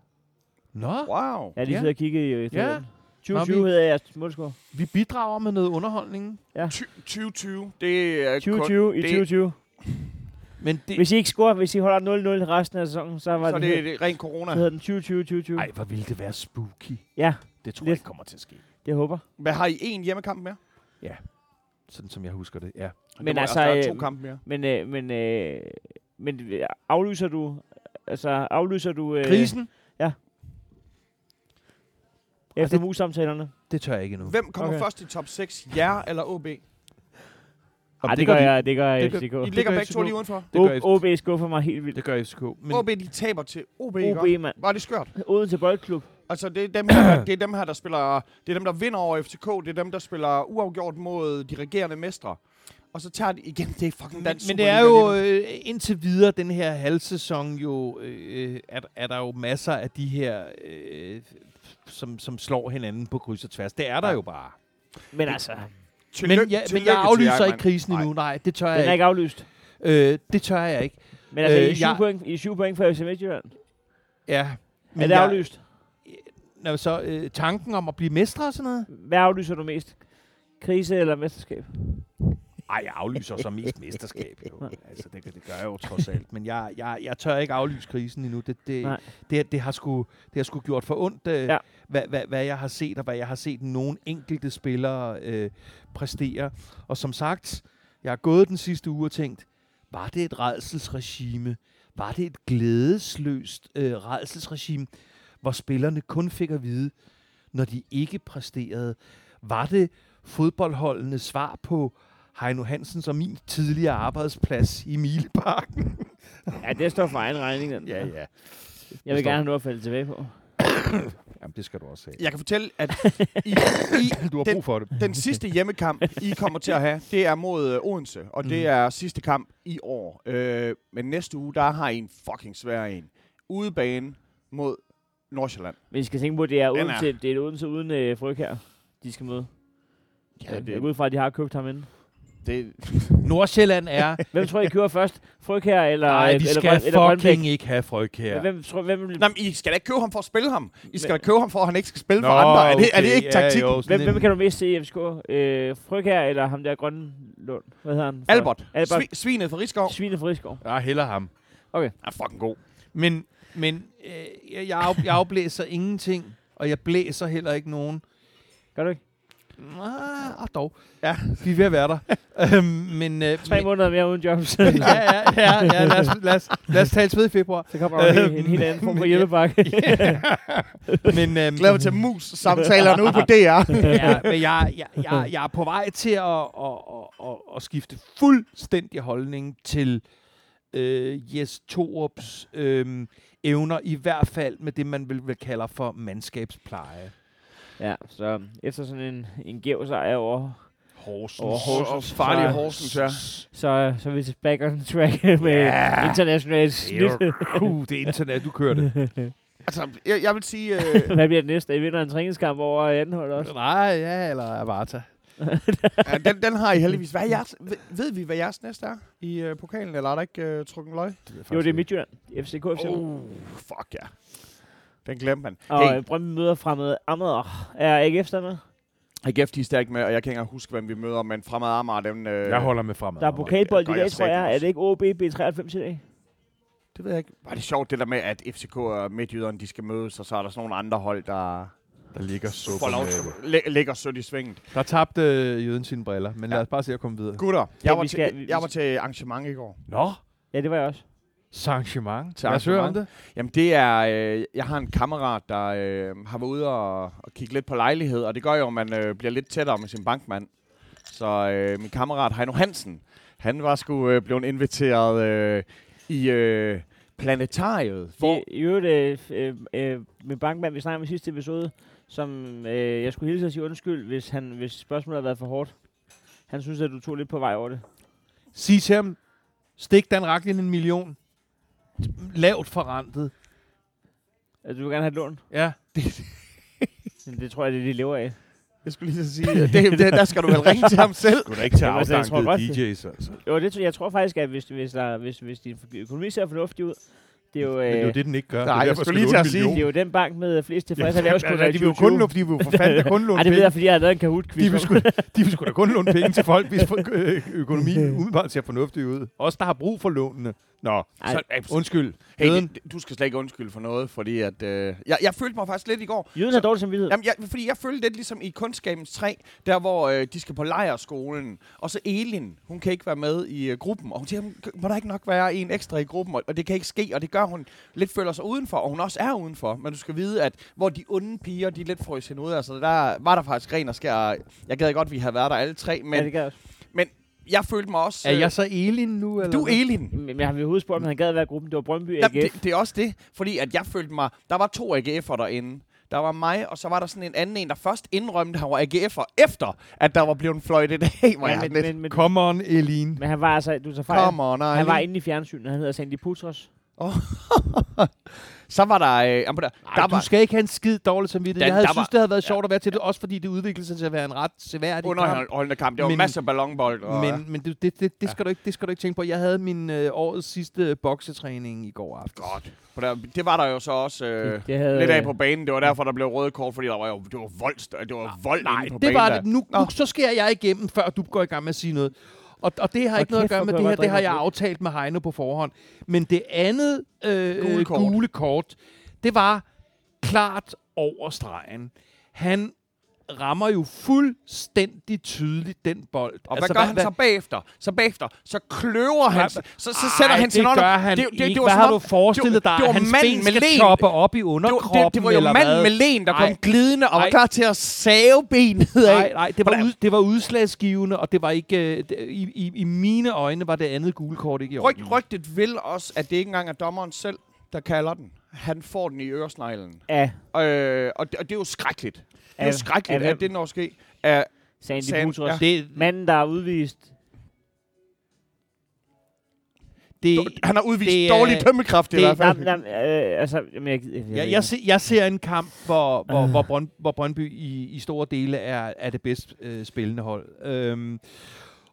Speaker 4: Nå,
Speaker 2: Wow.
Speaker 3: Jeg har lige
Speaker 4: Ja.
Speaker 3: siddet og kigget i øh,
Speaker 4: Ja.
Speaker 3: tabellen.
Speaker 4: Nå,
Speaker 3: 2020
Speaker 4: vi-
Speaker 3: hedder jeres målscore.
Speaker 4: Vi bidrager med noget underholdning,
Speaker 2: Ty- 2020, det er kun,
Speaker 3: 2020 i
Speaker 2: det-
Speaker 3: 2020.
Speaker 4: men det...
Speaker 3: Hvis I ikke scorer, hvis I holder 0-0 resten af sæsonen, så var
Speaker 2: så
Speaker 3: den,
Speaker 2: det er
Speaker 3: det,
Speaker 2: det rent corona.
Speaker 3: så hedder den 2020-2020.
Speaker 4: Ej, hvor ville det være spooky.
Speaker 3: Ja,
Speaker 4: Det tror
Speaker 3: Lidt.
Speaker 4: jeg ikke kommer til at ske.
Speaker 3: det håber.
Speaker 2: Hvad har I en hjemmekamp mere?
Speaker 4: Sådan som jeg husker det, ja.
Speaker 3: Men
Speaker 2: Det må-
Speaker 3: altså,
Speaker 2: der er to
Speaker 3: øh,
Speaker 2: kampe mere.
Speaker 3: Men, øh, men, øh, men øh, aflyser du... Altså, aflyser du... Øh,
Speaker 4: Grisen,
Speaker 3: Efter mus-samtalerne?
Speaker 4: det tør jeg ikke endnu.
Speaker 2: Hvem kommer
Speaker 3: okay.
Speaker 2: okay. først i top 6? Jer eller OB?
Speaker 4: Og
Speaker 3: Nej, det, gør
Speaker 4: vi-
Speaker 3: jeg, det gør jeg
Speaker 4: det gør-
Speaker 3: FCK.
Speaker 2: I ligger
Speaker 4: gør
Speaker 2: begge to
Speaker 4: FCK.
Speaker 2: lige udenfor.
Speaker 4: Det gør, F-
Speaker 3: OB skuffer mig helt vildt.
Speaker 4: det gør FCK. Men
Speaker 2: OB, de taber til OB, ikke?
Speaker 3: OB, mand.
Speaker 2: Var det skørt?
Speaker 3: Odense Boldklub.
Speaker 2: Altså, det er, dem
Speaker 4: [CLEARS THROAT]
Speaker 2: her, det er dem her, der spiller... Det er dem, der vinder over FCK. Det er dem, der spiller uafgjort mod de regerende mestre. Og så tager de igen... Det er fucking
Speaker 4: men,
Speaker 2: dansk
Speaker 4: men det er jo øh, indtil videre den her halvsæson jo, øh, er, er der jo masser af de her, øh, som, som slår hinanden på kryds og tværs. Det er der
Speaker 2: Ja.
Speaker 4: jo bare.
Speaker 3: Men altså,
Speaker 4: øh, Men, ja, men jeg aflyser ikke krisen
Speaker 2: Nej.
Speaker 4: endnu. Nej, det tør
Speaker 3: den er
Speaker 4: jeg
Speaker 3: ikke aflyst.
Speaker 4: ikke. Øh, det tør jeg ikke.
Speaker 3: Men altså,
Speaker 4: Øh,
Speaker 3: I, er syv
Speaker 4: jeg-
Speaker 3: point, I er syv point for FC Midtjylland.
Speaker 4: Ja.
Speaker 3: er det
Speaker 4: jeg-
Speaker 3: aflyst?
Speaker 4: Nå, så øh, tanken om at blive mestre og sådan noget?
Speaker 3: Hvad aflyser du mest? Krise eller mesterskab?
Speaker 4: Ej, jeg aflyser så mest mesterskab.
Speaker 3: [LAUGHS]
Speaker 4: Jo. Altså, det, det gør jeg jo trods alt. Men jeg, jeg, jeg tør ikke aflyse krisen endnu. Det, det,
Speaker 3: Nej.
Speaker 4: det, det, har, sgu, det har sgu gjort for ondt, øh,
Speaker 3: Ja.
Speaker 4: ja. hvad, hvad, hvad jeg har set, og hvad jeg har set nogle enkelte spillere øh, præstere. Og som sagt, jeg har gået den sidste uge og tænkt, var det et redselsregime? Var det et glædesløst øh, redselsregime, hvor spillerne kun fik at vide, når de ikke præsterede? Var det fodboldholdenes svar på Heino Hansens og min tidligere arbejdsplads i Mileparken?
Speaker 3: Ja, det står for egen regning. Den. der.
Speaker 4: ja.
Speaker 3: Jeg vil
Speaker 4: forstår.
Speaker 3: gerne have noget at falde tilbage på.
Speaker 4: Jamen, det skal du også have.
Speaker 2: Jeg kan fortælle,
Speaker 4: [LAUGHS]
Speaker 2: at I, I,
Speaker 4: Du har
Speaker 2: Den-
Speaker 4: brug for det.
Speaker 2: den sidste hjemmekamp, I kommer til at have, det er mod øh, Odense. Og det
Speaker 4: Mhm.
Speaker 2: er sidste kamp i år. Øh, men næste uge, der har I en fucking svær en. Udebane mod Nordsjælland.
Speaker 3: Men I skal tænke på, at det er,
Speaker 2: Den er-
Speaker 3: Odense, det er et Odense uden øh, fryg her, de skal møde. Ja, det er ud fra, at de har købt ham inden.
Speaker 2: det,
Speaker 4: Nordsjælland er...
Speaker 3: Hvem tror I kører først? Fryg her eller
Speaker 4: Nej, vi
Speaker 3: eller,
Speaker 4: skal
Speaker 3: Grøn- eller
Speaker 4: fucking ikke have frygt
Speaker 3: Ja.
Speaker 4: her.
Speaker 3: Hvem tror hvem vil,
Speaker 2: Nej, men I skal da ikke købe ham for at spille ham. I skal
Speaker 3: Men-
Speaker 2: da købe ham for, at han ikke skal spille for andre. Er det, er det ikke taktik?
Speaker 4: Ja, jo, sådan
Speaker 3: hvem, hvem kan du mest se i FCK? Øh, Fryg her eller ham der Grønlund? Hvad hedder han?
Speaker 2: Albert.
Speaker 3: Albert.
Speaker 2: Albert. Svi, svinet fra Rigskov.
Speaker 3: Svine Friskov.
Speaker 4: en- Ja, Ah, heller ham.
Speaker 2: Er fucking god.
Speaker 4: Men, men øh, jeg, jeg, af, jeg afblæser ingenting, og jeg blæser heller ikke nogen.
Speaker 3: Gør du ikke?
Speaker 4: Ah, ah, dog.
Speaker 2: Ja.
Speaker 4: Vi er ved at være der. øhm, men, øh,
Speaker 3: Tre
Speaker 4: men,
Speaker 3: måneder mere uden
Speaker 2: [LAUGHS]
Speaker 3: jobs.
Speaker 4: [LAUGHS] ja, ja, ja, ja, lad os, lad os, lad os tale sved i februar.
Speaker 3: Så kommer der en, helt- en helt anden
Speaker 2: [LAUGHS]
Speaker 3: form for hjælpepakke.
Speaker 4: [LAUGHS] men, øhm,
Speaker 2: Glæder mig til mus-samtalerne ude på DR.
Speaker 4: ja, men jeg, jeg, jeg, jeg er på vej til at, at, at, at, at skifte fuldstændig holdning til øh, Jes Torups øh, evner, i hvert fald med det, man vil, vil kalder for mandskabspleje.
Speaker 3: ja, så efter sådan en, en gæv sejr over,
Speaker 4: Horsens.
Speaker 3: over Horsens,
Speaker 2: Horsens. Farlige
Speaker 3: så-
Speaker 2: Horsens, ja.
Speaker 3: så, så er vi til back on track med
Speaker 2: Ja.
Speaker 3: yeah. internationalt snit.
Speaker 4: Uh, det er internet, du
Speaker 3: [LAUGHS]
Speaker 4: kører det.
Speaker 2: Altså, jeg, jeg vil sige... Øh,
Speaker 3: Hvad bliver det næste? I vinder en træningskamp over anhold også.
Speaker 4: Nej, ja, eller Avarta.
Speaker 2: ja, den, den har I heldigvis. Hvad er jeres, ved, ved vi, hvad jeres næste er i øh, pokalen, eller er der ikke øh, trukket løg?
Speaker 3: Jo, det er Midtjylland. FCK, FCK. Oh,
Speaker 2: Oh, fuck ja. Den glemte man.
Speaker 3: og
Speaker 2: Hey,
Speaker 3: øh, Brøndby møder fremad Amager. Er AGF der med?
Speaker 2: AGF, de er stærkt med, og jeg kan ikke engang huske, hvem vi møder, men fremad Amager, den... Øh,
Speaker 4: Jeg holder med fremad.
Speaker 3: Der er pokalbold i
Speaker 2: godt,
Speaker 3: dag,
Speaker 2: jeg
Speaker 3: tror
Speaker 2: sagde det
Speaker 3: jeg.
Speaker 2: også.
Speaker 3: Er det ikke OB B93 i dag?
Speaker 2: Det ved jeg ikke. Var det sjovt, det der med, at FCK og Midtjyderne, de skal mødes, og så er der sådan nogle andre hold, der
Speaker 4: Der ligger
Speaker 2: får lov til, læ- ligger sødt i svinget.
Speaker 4: Der tabte øh, jøden sine briller, men lad
Speaker 2: Ja.
Speaker 4: os bare se at komme videre.
Speaker 2: Gutter,
Speaker 3: Ja,
Speaker 2: jeg, var
Speaker 3: vi skal- vi-
Speaker 2: til, jeg var til arrangement i går.
Speaker 4: Nå,
Speaker 3: Ja, det var jeg også.
Speaker 4: Saint-Germain.
Speaker 2: Til
Speaker 4: Lad os høre om det.
Speaker 2: Jamen det er, øh, jeg har en kammerat, der øh, har været ude og, og kigge lidt på lejlighed, og det gør jo, at man øh, bliver lidt tættere med sin bankmand. Så øh, min kammerat Heino Hansen, han var sgu øh, blevet inviteret øh, i øh, planetariet. Hvor,
Speaker 3: Det er i øvrigt øh, øh, øh, min bankmand, vi snakkede om i sidste episode, som øh, jeg skulle hilse og sige undskyld, hvis, han, hvis spørgsmålet har været for hårdt. Han synes, at du tog lidt på vej over det.
Speaker 4: Sig til ham, stik Dan Raklin en million. Lavt forrentet.
Speaker 3: Altså, du vil gerne have et lån.
Speaker 4: Ja.
Speaker 3: Men Det tror jeg, det er det, de lever af.
Speaker 2: jeg skulle lige så sige, at det, det, der skal du vel ringe til ham [LAUGHS] selv.
Speaker 4: Skulle da ikke tage
Speaker 3: Jamen, altså, jeg afdankede tror godt,
Speaker 4: DJ's, altså.
Speaker 3: Jo, det, tror- jeg tror faktisk, at hvis, hvis, der, hvis, hvis din økonomi ser fornuftig ud, det er jo, øh,
Speaker 4: Men det er jo
Speaker 3: det,
Speaker 4: det, den ikke
Speaker 2: Nej,
Speaker 4: gør. Det er
Speaker 2: jeg
Speaker 4: derfor,
Speaker 2: skulle lige
Speaker 4: du
Speaker 2: til at
Speaker 4: låne en
Speaker 2: sige-
Speaker 4: million.
Speaker 3: det er jo den bank med flest tilfredse erhvervskunder
Speaker 4: Ja,
Speaker 3: i
Speaker 4: de vil jo kun
Speaker 3: 2020.
Speaker 4: låne, de vil jo for fanden da
Speaker 3: [LAUGHS]
Speaker 4: kun låne
Speaker 3: Ej, det ved
Speaker 4: penge.
Speaker 3: jeg, fordi jeg har lavet en
Speaker 4: De
Speaker 3: kahoot-quiz.
Speaker 4: vil, sgu, de vil sgu da kun låne penge til folk, hvis for- øh,
Speaker 3: [LAUGHS]
Speaker 4: økonomien umiddelbart ser fornuftig ud. Os, der har brug for lånene. Nå,
Speaker 3: Ej.
Speaker 4: så, undskyld.
Speaker 2: Hey,
Speaker 4: Jøden.
Speaker 2: det, du skal slet ikke undskylde for noget, fordi at, øh, jeg, jeg følte mig faktisk lidt i går.
Speaker 3: Jyden har dårlig samvittighed.
Speaker 2: Jamen, jeg, fordi jeg følte lidt ligesom i Kundskabens 3, der hvor øh, de skal på lejerskolen, og så Elin, hun kan ikke være med i øh, gruppen, og hun siger, "Jamen, må der ikke nok være en ekstra i gruppen, og, og det kan ikke ske, og det gør hun lidt føler sig udenfor, og hun også er udenfor, men du skal vide, at hvor de onde piger, de er lidt frøs hende ud, altså der var der faktisk ren og skær, jeg gad godt, vi havde været der alle tre,
Speaker 3: Ja,
Speaker 2: men
Speaker 3: det gad jeg også.
Speaker 2: jeg følte mig også...
Speaker 4: Er
Speaker 2: øh,
Speaker 4: jeg så Elin nu? Eller
Speaker 2: du
Speaker 4: hvad?
Speaker 2: er Elin.
Speaker 3: Men jeg har ved hovedet spurgt, om han gad være i gruppen. Det var Brøndby AGF.
Speaker 2: Jamen, det, det er også det, fordi at jeg følte mig... Der var to AGF'er derinde. Der var mig, og så var der sådan en anden en, der først indrømte, at han var AGF'er, efter at der var blevet fløjtet af, hvor ja, jeg
Speaker 3: ja, men,
Speaker 2: men, lidt...
Speaker 3: men, men,
Speaker 4: Come on, Elin.
Speaker 3: men, han var altså, du tager fejl.
Speaker 2: Come on,
Speaker 3: Han var
Speaker 2: Eileen.
Speaker 3: inde i fjernsynet, han hedder Sandy Putros.
Speaker 2: Så var der... Øh, jamen, der, der
Speaker 4: Ej, der du
Speaker 2: var,
Speaker 4: skal ikke have en skid dårlig samvittighed.
Speaker 2: Dan,
Speaker 4: Jeg havde
Speaker 2: der
Speaker 4: synes,
Speaker 2: var-
Speaker 4: det havde været sjovt at være til det, også fordi det udviklede sig til at være en ret seværdig kamp.
Speaker 2: underholdende kamp. Det var
Speaker 4: Men-
Speaker 2: men, masser af ballonbold. Og, men,
Speaker 4: Men, men det, det, det, det, skal du ikke, det skal du ikke tænke på. Jeg havde min øh, årets sidste boksetræning i går aften.
Speaker 2: godt. For der, det var der jo så også øh,
Speaker 3: Det havde-
Speaker 2: lidt af på banen. Det var derfor, der blev røde kort, fordi der var jo det var vold, det var vold nej, inde på
Speaker 4: Det
Speaker 2: banen.
Speaker 4: var
Speaker 2: der.
Speaker 4: det. Nu, nu, så skærer jeg igennem, før du går i gang med at sige noget. Og, og det har
Speaker 3: Og
Speaker 4: ikke noget
Speaker 3: kæft,
Speaker 4: at gøre
Speaker 3: hvor
Speaker 4: med
Speaker 3: kunne jeg
Speaker 4: det her.
Speaker 3: godt
Speaker 4: Det har
Speaker 3: drikke
Speaker 4: jeg
Speaker 3: noget
Speaker 4: aftalt med Heino på forhånd. Men det andet øh,
Speaker 2: Gule
Speaker 4: gule,
Speaker 2: kort.
Speaker 4: kort. gule kort, det var klart over stregen. Han rammer jo fuldstændig tydeligt den bold.
Speaker 2: Og altså, hvad gør han så bagefter? Så bagefter, så kløver han, sig. så, så
Speaker 4: Ej,
Speaker 2: sætter han sin
Speaker 4: det
Speaker 2: hånd op.
Speaker 4: gør han
Speaker 2: Det- det- det
Speaker 4: ikke.
Speaker 2: var
Speaker 4: Hvad
Speaker 2: som
Speaker 4: har
Speaker 2: om-
Speaker 4: du forestillet dig?
Speaker 2: det var
Speaker 4: Hans
Speaker 2: manden
Speaker 4: ben
Speaker 2: med
Speaker 4: skal
Speaker 2: len.
Speaker 4: toppe op i
Speaker 2: Det var,
Speaker 4: underkroppen,
Speaker 2: det, det var jo
Speaker 4: eller
Speaker 2: manden
Speaker 4: hvad?
Speaker 2: med len, der kom
Speaker 4: Ej.
Speaker 2: glidende og var
Speaker 4: Ej.
Speaker 2: klar til at save benet af.
Speaker 4: Nej, nej, det var, ud, det var udslagsgivende, og det var ikke... Øh, det- i, i, I mine øjne var det andet gule kort ikke i orden.
Speaker 2: Ryg, rygtet vil også, at det ikke engang er dommeren selv, der kalder den. Han får den i øresneglen.
Speaker 3: Ja,
Speaker 2: Øh, og, det, og det er jo skrækkeligt. Det er jo
Speaker 3: Af-
Speaker 2: skrækkeligt,
Speaker 3: af hvem?
Speaker 2: at det når ske. Af,
Speaker 3: Sandy
Speaker 2: Sand-
Speaker 3: Putros.
Speaker 2: ja.
Speaker 4: Det,
Speaker 3: Manden, der er udvist.
Speaker 4: det,
Speaker 2: han har udvist
Speaker 4: det
Speaker 2: det,
Speaker 4: er-
Speaker 2: dårlig dømmekraft i
Speaker 4: det-
Speaker 2: hvert fald.
Speaker 3: Jamen, jamen, øh, altså, jamen, jeg, jeg, jeg,
Speaker 4: jeg, jeg, ser, jeg ser en kamp, hvor, hvor,
Speaker 3: Øh.
Speaker 4: hvor, Brønd, hvor Brøndby i, i store dele er, er det bedst øh, spillende hold. Øhm, og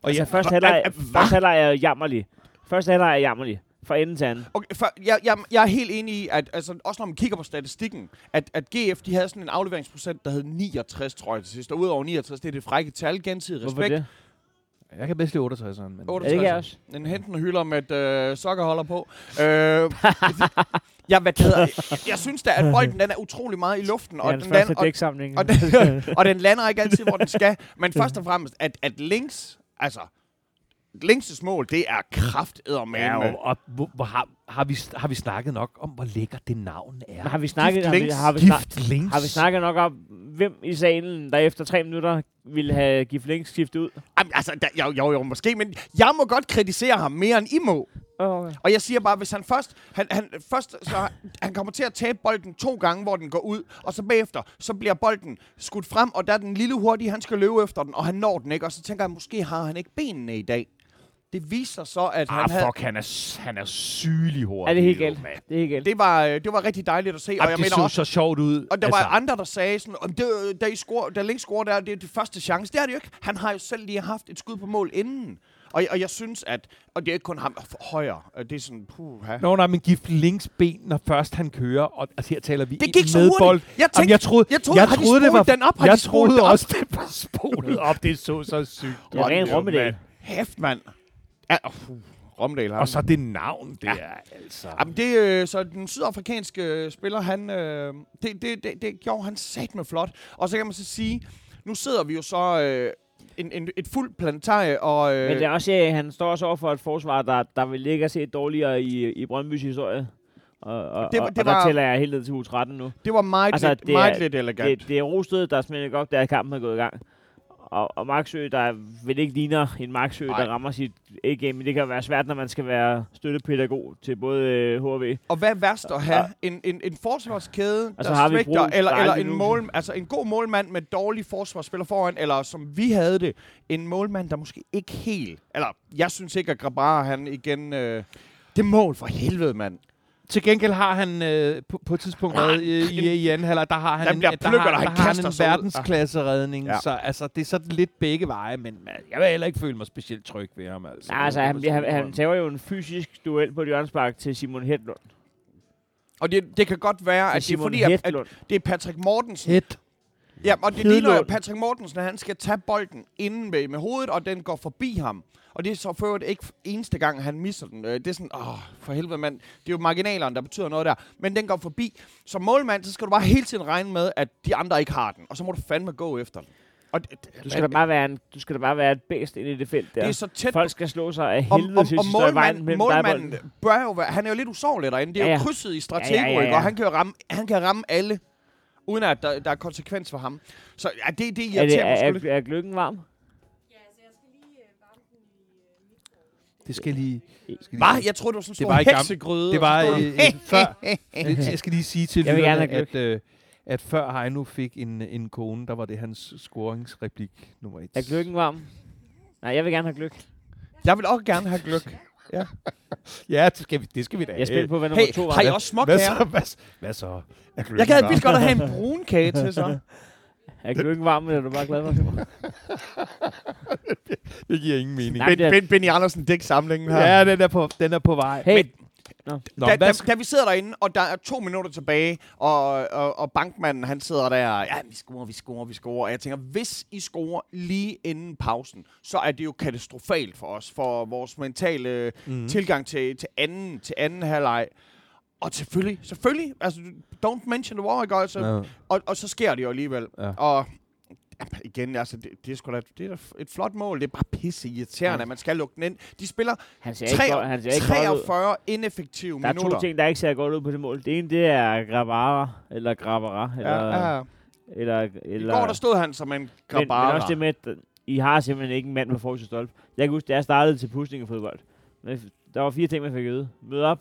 Speaker 3: altså,
Speaker 4: jeg,
Speaker 3: først
Speaker 2: Hva-
Speaker 3: halvleg
Speaker 2: hva-
Speaker 3: først halvleg er jammerlig. Først halvleg er jammerlig. Fra ende til anden.
Speaker 2: Okay, for, jeg, jeg, jeg er helt enig i, at altså, også når man kigger på statistikken, at, at GF de havde sådan en afleveringsprocent, der hed 69, tror jeg til sidst. Og udover 69, det er det frække tal, gensidig
Speaker 3: Hvorfor
Speaker 2: respekt.
Speaker 3: det?
Speaker 4: Jeg kan bedst lide 68'eren. Men...
Speaker 3: Er det
Speaker 2: 68.
Speaker 3: ikke jeg også?
Speaker 2: En henten hylder med et øh, sokkerholder på. Øh, jeg, hvad det hedder, jeg, jeg synes da, at bolden den er utrolig meget i luften, og,
Speaker 3: Og
Speaker 2: den,
Speaker 3: den første
Speaker 2: lander, og,
Speaker 3: dæksamling.
Speaker 2: og, den, og den [LAUGHS] lander ikke altid, hvor den skal. Men først og fremmest, at, at links, altså, Links' mål, det er krafteddermame.
Speaker 4: Ja,
Speaker 2: Ja,
Speaker 4: og, og hvor, hvor har, har, vi, har vi snakket nok om, hvor lækker det navn er?
Speaker 3: har vi snakket, har vi,
Speaker 2: links,
Speaker 3: har, vi snak,
Speaker 4: Gift Links.
Speaker 3: har vi snakket nok om, hvem i salen, der efter tre minutter ville have givet Links skiftet ud?
Speaker 2: Jamen, altså, der, jo, jo, jo, måske, men jeg må godt kritisere ham mere end I må.
Speaker 3: Okay.
Speaker 2: Og jeg siger bare, hvis han først, han, han, først så, han kommer til at tabe bolden to gange, hvor den går ud, og så bagefter, så bliver bolden skudt frem, og der er den lille hurtige, han skal løbe efter den, og han når den ikke, og så tænker jeg, måske har han ikke benene i dag. Det viser så, at han
Speaker 4: Ah,
Speaker 2: havde...
Speaker 4: fuck, han er, s- han er sygelig hurtig.
Speaker 3: Er det helt
Speaker 4: jo,
Speaker 3: galt?
Speaker 4: mand.
Speaker 3: Det er helt galt.
Speaker 2: Det var, øh, det var rigtig dejligt at se, og
Speaker 4: Ej,
Speaker 2: jeg
Speaker 4: det
Speaker 2: mener
Speaker 4: så
Speaker 2: også,
Speaker 4: så sjovt ud.
Speaker 2: og der altså. var andre, der sagde sådan, om det, da, I score, da Link scorer der, det er det første chance. Det er det jo ikke. Han har jo selv lige haft et skud på mål inden. Og, og jeg synes, at... Og det er ikke kun ham højere. Øh, Det er sådan, puh,
Speaker 4: Nå, nej, men gift links ben, når først han kører, og altså, her taler vi
Speaker 2: Det
Speaker 4: ikke
Speaker 2: gik så
Speaker 4: med
Speaker 2: hurtigt.
Speaker 4: bold.
Speaker 2: Jeg
Speaker 4: Jamen,
Speaker 2: tænkte-
Speaker 4: jeg troede,
Speaker 2: jeg troede, har de
Speaker 4: det var,
Speaker 2: spolet den op? Har
Speaker 4: jeg
Speaker 2: de spolet
Speaker 4: troede
Speaker 2: den op?
Speaker 4: også, det var spolet op. Det så så sygt.
Speaker 3: Det var ren
Speaker 4: ud, mand.
Speaker 3: Rommedal.
Speaker 2: Hæft, mand. Ja, uh, Romdal har
Speaker 4: Og så det navn, det er altså...
Speaker 2: Jamen, det, øh, så den sydafrikanske øh, spiller, han, øh, det, det, det, det gjorde han sat med flot. Og så kan man så sige, nu sidder vi jo så øh, en, en, et fuldt planetarie, og øh,
Speaker 3: Men det er også, øh, han står også over for et forsvar, der, der vil ligge og se dårligere i, i Brøndby's historie. Og, og,
Speaker 2: Det
Speaker 3: det,
Speaker 2: var-
Speaker 3: og,
Speaker 2: det
Speaker 3: det og
Speaker 2: var-
Speaker 3: der tæller jeg helt ned til U13 nu.
Speaker 2: det var meget, altså,
Speaker 3: altså,
Speaker 2: lidt,
Speaker 3: det er-
Speaker 2: meget lidt elegant.
Speaker 3: Det, det er rostødet, der smider godt, da kampen er gået i gang. Og, og Marksø, der vel ikke ligner en Marksø,
Speaker 2: Nej.
Speaker 3: der rammer sit A-game. Men det kan være svært, når man skal være støttepædagog til både øh, HV.
Speaker 2: Og hvad er værst at have? En, en, en forsvarskæde,
Speaker 3: Og
Speaker 2: der
Speaker 3: så Altså, har vi
Speaker 2: svigter,
Speaker 3: Brugs,
Speaker 2: eller,
Speaker 3: der
Speaker 2: eller
Speaker 3: aldrig
Speaker 2: en,
Speaker 3: nu-
Speaker 2: mål, altså en god målmand med dårlig forsvarsspiller foran, eller som vi havde det, en målmand, der måske ikke helt... Eller, jeg synes ikke, at Grabara, han igen... Øh, det mål for helvede, mand.
Speaker 4: Til gengæld har han øh, på, på et tidspunkt været øh, i, i anden halvleg, der har han
Speaker 2: Der
Speaker 4: en,
Speaker 2: bliver
Speaker 4: der
Speaker 2: pløkker,
Speaker 4: har,
Speaker 2: der
Speaker 4: der
Speaker 2: Ah, han
Speaker 4: har han
Speaker 2: kaster
Speaker 4: en
Speaker 2: sig ud.
Speaker 4: verdensklasse redning,
Speaker 2: Ja.
Speaker 4: ja. så altså, det er sådan lidt begge veje, men øh, jeg vil heller ikke føle mig specielt tryg ved ham. Altså,
Speaker 3: Nej, altså,
Speaker 4: Det må
Speaker 3: han,
Speaker 4: jeg
Speaker 3: bliver- han,
Speaker 4: sige.
Speaker 3: han tager jo en fysisk duel på et hjørnspark til Simon Hedlund.
Speaker 2: Og det, det kan godt være,
Speaker 3: Til
Speaker 2: at det er
Speaker 3: Simon
Speaker 2: fordi, at, at
Speaker 3: Hedlund.
Speaker 2: det er Patrick Mortensen.
Speaker 4: Hit.
Speaker 2: Ja, og det
Speaker 3: Hedlund.
Speaker 2: ligner jo, at Patrick Mortensen, at han skal tage bolden inden med, med hovedet, og den går forbi ham. Og det er så for øvrigt ikke eneste gang, han misser den. Øh, Det er sådan, åh, for helvede mand, det er jo marginalerne, der betyder noget der. Men den går forbi. Som målmand, så skal du bare hele tiden regne med, at de andre ikke har den. Og så må du fandme gå efter den. Og det,
Speaker 3: Du skal, da bare være en, du skal da bare være et bedst ind i det felt der.
Speaker 2: det er så tæt
Speaker 3: Folk skal slå sig af
Speaker 2: Om,
Speaker 3: helvede
Speaker 2: om,
Speaker 3: til,
Speaker 2: og
Speaker 3: hvis de står i vejen
Speaker 2: målmanden,
Speaker 3: mellem dig og bolden.
Speaker 2: målmanden bør jo være, han er jo lidt usårlig derinde. Det er ja,
Speaker 3: Ja,
Speaker 2: ja. jo
Speaker 3: ja.
Speaker 2: krydset i stratego, ja,
Speaker 3: Ja,
Speaker 2: ja,
Speaker 3: ja, ja, ja.
Speaker 2: og han kan, jo ramme, han kan ramme alle, uden at der, der er konsekvens for ham. Så ja, det, det
Speaker 3: Er, det,
Speaker 2: irriterer mig sgu
Speaker 3: er,
Speaker 2: lidt.
Speaker 3: er, er gløggen varm?
Speaker 4: Det skal lige... skal lige-
Speaker 2: Hvad? Jeg troede, det var sådan en
Speaker 4: Det
Speaker 2: stor
Speaker 4: var i gamle-
Speaker 2: heksegryde.
Speaker 4: Det var
Speaker 2: og
Speaker 4: øh,
Speaker 2: sådan noget.
Speaker 4: øh, før... det- Jeg skal lige sige
Speaker 3: [LAUGHS]
Speaker 4: til
Speaker 3: Jeg vil gerne
Speaker 4: lytterne,
Speaker 3: have
Speaker 4: at, øh, at før Heino fik en, en kone, der var det hans scoringsreplik nummer et.
Speaker 3: Er gløggen varm? Nej, jeg vil gerne have gløk.
Speaker 2: Jeg vil også gerne have gløk.
Speaker 4: Ja, det skal vi, det skal vi da.
Speaker 3: Jeg spiller på, hvad nummer to
Speaker 2: Øh, Hey,
Speaker 3: var.
Speaker 2: har I også
Speaker 4: hvad
Speaker 2: småkager?
Speaker 4: så? Hvad, så- hvad så? Er
Speaker 2: Jeg gad
Speaker 4: gløggen
Speaker 2: vildt godt at have en brun kage til, [LAUGHS] så.
Speaker 3: Er gløggen varm, eller er du bare glad for det?
Speaker 4: varm? Det giver ingen mening.
Speaker 3: Nej, men det er-
Speaker 2: Benny Andersen dæk samlingen
Speaker 4: Ja, den er på, den er på vej.
Speaker 3: Hey,
Speaker 4: Nå,
Speaker 2: da,
Speaker 4: hvad
Speaker 2: da,
Speaker 4: sk-
Speaker 2: da vi sidder derinde, og der er to minutter tilbage, og, og, og bankmanden han sidder der, ja, vi scorer, vi scorer, vi scorer. Og jeg tænker, hvis I scorer lige inden pausen, så er det jo katastrofalt for os, for vores mentale mm. tilgang til, til, anden, til anden halvleg. Og selvfølgelig, selvfølgelig, altså, don't mention the war, ikke? Altså,
Speaker 4: Nå.
Speaker 2: og, og så sker det jo alligevel.
Speaker 4: Ja.
Speaker 2: Ja. Og ja, igen, altså, det, det, er sgu da, det er da et flot mål. Det er bare pisse irriterende, ja. at man skal lukke den ind. De spiller
Speaker 3: han ser ikke godt, han ser ikke godt ud.
Speaker 2: 43 ineffektive
Speaker 3: Der er
Speaker 2: minutter.
Speaker 3: to ting, der ikke ser godt ud på det mål. Det ene, det er Gravara, eller Gravara,
Speaker 2: Ja,
Speaker 3: eller...
Speaker 2: ja.
Speaker 3: eller,
Speaker 2: I
Speaker 3: eller
Speaker 2: går der stod han som en
Speaker 3: men, men
Speaker 2: grabara.
Speaker 3: også det med, at I har simpelthen ikke en mand med forreste stolpe. Jeg kan huske, da jeg startede til pusning og fodbold. Men f- der var fire ting, man fik øget. Møde op.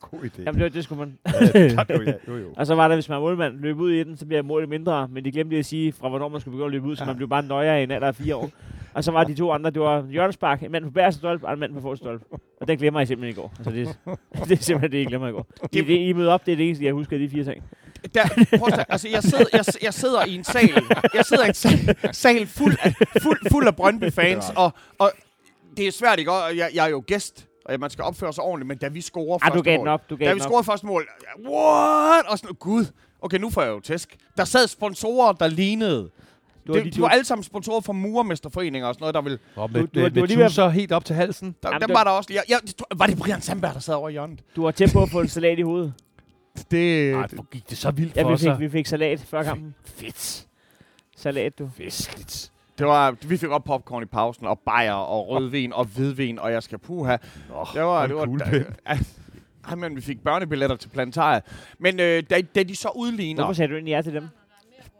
Speaker 4: God idé.
Speaker 3: Jamen, det, var, det skulle man.
Speaker 2: Øh,
Speaker 3: [LAUGHS]
Speaker 4: Tak, jo, ja, jo, jo.
Speaker 3: Og så var der, hvis man er målmand, løb ud i den, så bliver målet mindre. Men de glemte lige at sige, fra hvornår man skulle begynde at løbe ud, så man blev bare nøjere i en alder af
Speaker 2: [LAUGHS]
Speaker 3: fire år. Og så var de to andre, det var Jørgen Spark, en mand på bæreste stolp, og en mand på forreste stolp. Og den glemmer jeg simpelthen i går. Altså, det, [LAUGHS] det er simpelthen det, I glemmer i går. I, det, I møder op, det er det eneste, jeg husker af de fire ting.
Speaker 2: Der, prøv at, se, altså, jeg, sidder, jeg, jeg sidder i en sal, jeg sidder i en sal, sal fuld, af, fuld, fuld af Brøndby-fans, og, og det er svært, ikke? Og jeg, jeg er jo gæst, og man skal opføre sig ordentligt, men da vi scorer
Speaker 3: Ah,
Speaker 2: første
Speaker 3: du gav
Speaker 2: mål,
Speaker 3: den op, du gav
Speaker 2: da
Speaker 3: den
Speaker 2: vi
Speaker 3: op.
Speaker 2: scorede første mål, what? Og sådan, gud, okay, nu får jeg jo tæsk. Der sad sponsorer, der lignede
Speaker 3: var
Speaker 2: det,
Speaker 3: lige-
Speaker 2: de var alle sammen sponsorer fra murermesterforeninger og sådan noget, der ville...
Speaker 4: Og
Speaker 3: Du-
Speaker 4: med,
Speaker 3: du-
Speaker 4: med,
Speaker 3: du er
Speaker 4: med
Speaker 3: lige ved at-
Speaker 4: tusser helt op til halsen.
Speaker 2: Der,
Speaker 3: Jamen,
Speaker 2: dem
Speaker 3: det-
Speaker 2: var der også lige... Jeg, jeg, var det Brian Sandberg, der sad over i hjørnet?
Speaker 3: Du var tæt på at få en salat i hovedet.
Speaker 2: [LAUGHS] Det...
Speaker 4: Ej, hvor gik det så vildt
Speaker 3: Ja,
Speaker 4: for
Speaker 3: vi
Speaker 4: sig.
Speaker 3: fik, vi fik salat før kampen.
Speaker 2: Fedt.
Speaker 3: Salat, du.
Speaker 2: Festligt. Det var, vi fik op popcorn i pausen, og bajer, og rødvin, og hvidvin, og jeg skal puha.
Speaker 4: Nå,
Speaker 2: Det var,
Speaker 4: og
Speaker 2: det var,
Speaker 4: kuglepen.
Speaker 2: Ja, Ej, men vi fik børnebilletter til planetariet. Men øh, da, da, de så udligner...
Speaker 3: Hvorfor sagde du egentlig ja til dem?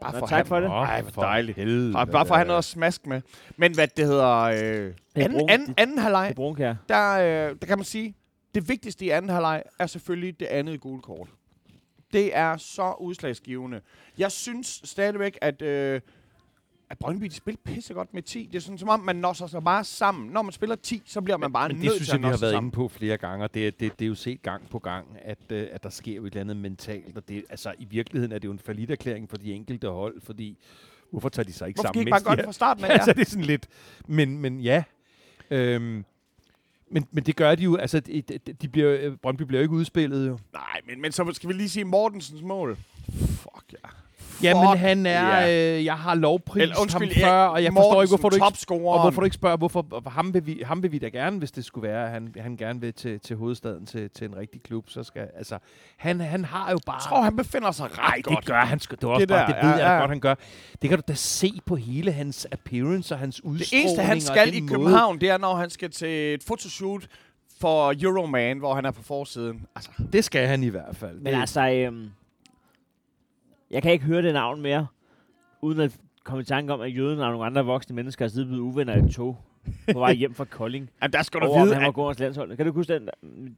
Speaker 2: Bare
Speaker 3: Nå,
Speaker 2: for
Speaker 3: tak
Speaker 2: han,
Speaker 3: for det.
Speaker 2: Ej, hvor dejligt.
Speaker 4: helvede.
Speaker 2: Bare, bare for at have noget at smaske med. Men hvad det hedder... Øh, anden,
Speaker 3: brugt-
Speaker 2: anden, anden halvleg,
Speaker 3: Det brunkær.
Speaker 2: der, øh, der kan man sige, det vigtigste i anden halvleg er selvfølgelig det andet gule kort. Det er så udslagsgivende. Jeg synes stadigvæk, at, øh, at Brøndby de spiller pissegodt med 10. Det er sådan, som om, man når sig så bare sammen. Når man spiller 10, så bliver man bare
Speaker 4: Men det
Speaker 2: nødt
Speaker 4: synes
Speaker 2: til
Speaker 4: jeg,
Speaker 2: at
Speaker 4: vi
Speaker 2: nå
Speaker 4: har
Speaker 2: sig
Speaker 4: været inde
Speaker 2: sammen.
Speaker 4: på flere gange, og det, det, det er jo set gang på gang, at, øh, at der sker jo et eller andet mentalt, og det, altså, i virkeligheden er det jo en faliderklæring for de enkelte hold, fordi hvorfor tager de sig ikke
Speaker 2: Hvorfor gik
Speaker 4: sammen?
Speaker 2: ikke bare
Speaker 4: mens de
Speaker 2: godt
Speaker 4: er-
Speaker 2: fra starten
Speaker 4: [LAUGHS]
Speaker 2: af?
Speaker 4: altså, det er sådan lidt... Men, men ja. Øhm, men, men det gør de jo, altså, de, de- de bliver, øh, Brøndby bliver jo ikke udspillet jo.
Speaker 2: Nej, men, men så skal vi lige sige Mortensens mål. Fuck ja.
Speaker 4: Jamen
Speaker 2: Fuck
Speaker 4: han er,
Speaker 2: ja.
Speaker 4: øh, jeg har lovpris
Speaker 2: Eller undskyld,
Speaker 4: ham før, og jeg forstår ikke, hvorfor du ikke
Speaker 2: topscorer.
Speaker 4: Og hvorfor du ikke spørger, hvorfor og ham vil, vi, ham vil vi da gerne, hvis det skulle være, at han, han gerne vil til, til hovedstaden, til, til en rigtig klub, så skal, altså, han, han har jo bare...
Speaker 2: Jeg tror, han befinder sig ret
Speaker 4: Ej,
Speaker 2: godt.
Speaker 4: det gør han sgu. Det, var også
Speaker 2: Det
Speaker 4: det, bare,
Speaker 2: der,
Speaker 4: det ved
Speaker 2: ja,
Speaker 4: jeg da
Speaker 2: ja.
Speaker 4: godt, han gør. Det kan du da se på hele hans appearance og hans udstråling.
Speaker 2: Det eneste, han
Speaker 4: og
Speaker 2: skal
Speaker 4: den
Speaker 2: i
Speaker 4: måde-
Speaker 2: København, det er, når han skal til et fotoshoot for Euroman, hvor han er på forsiden. Altså,
Speaker 4: Det skal han i hvert fald.
Speaker 3: Men
Speaker 4: Det-
Speaker 3: altså, øhm, jeg kan ikke høre det navn mere, uden at komme i tanke om, at jøden og nogle andre voksne mennesker er siddet blevet uvenner i et tog på vej hjem fra Kolding.
Speaker 2: at der skal du
Speaker 3: over,
Speaker 2: vide,
Speaker 3: at han var
Speaker 2: at,
Speaker 3: gårdens landshold. Kan du huske den?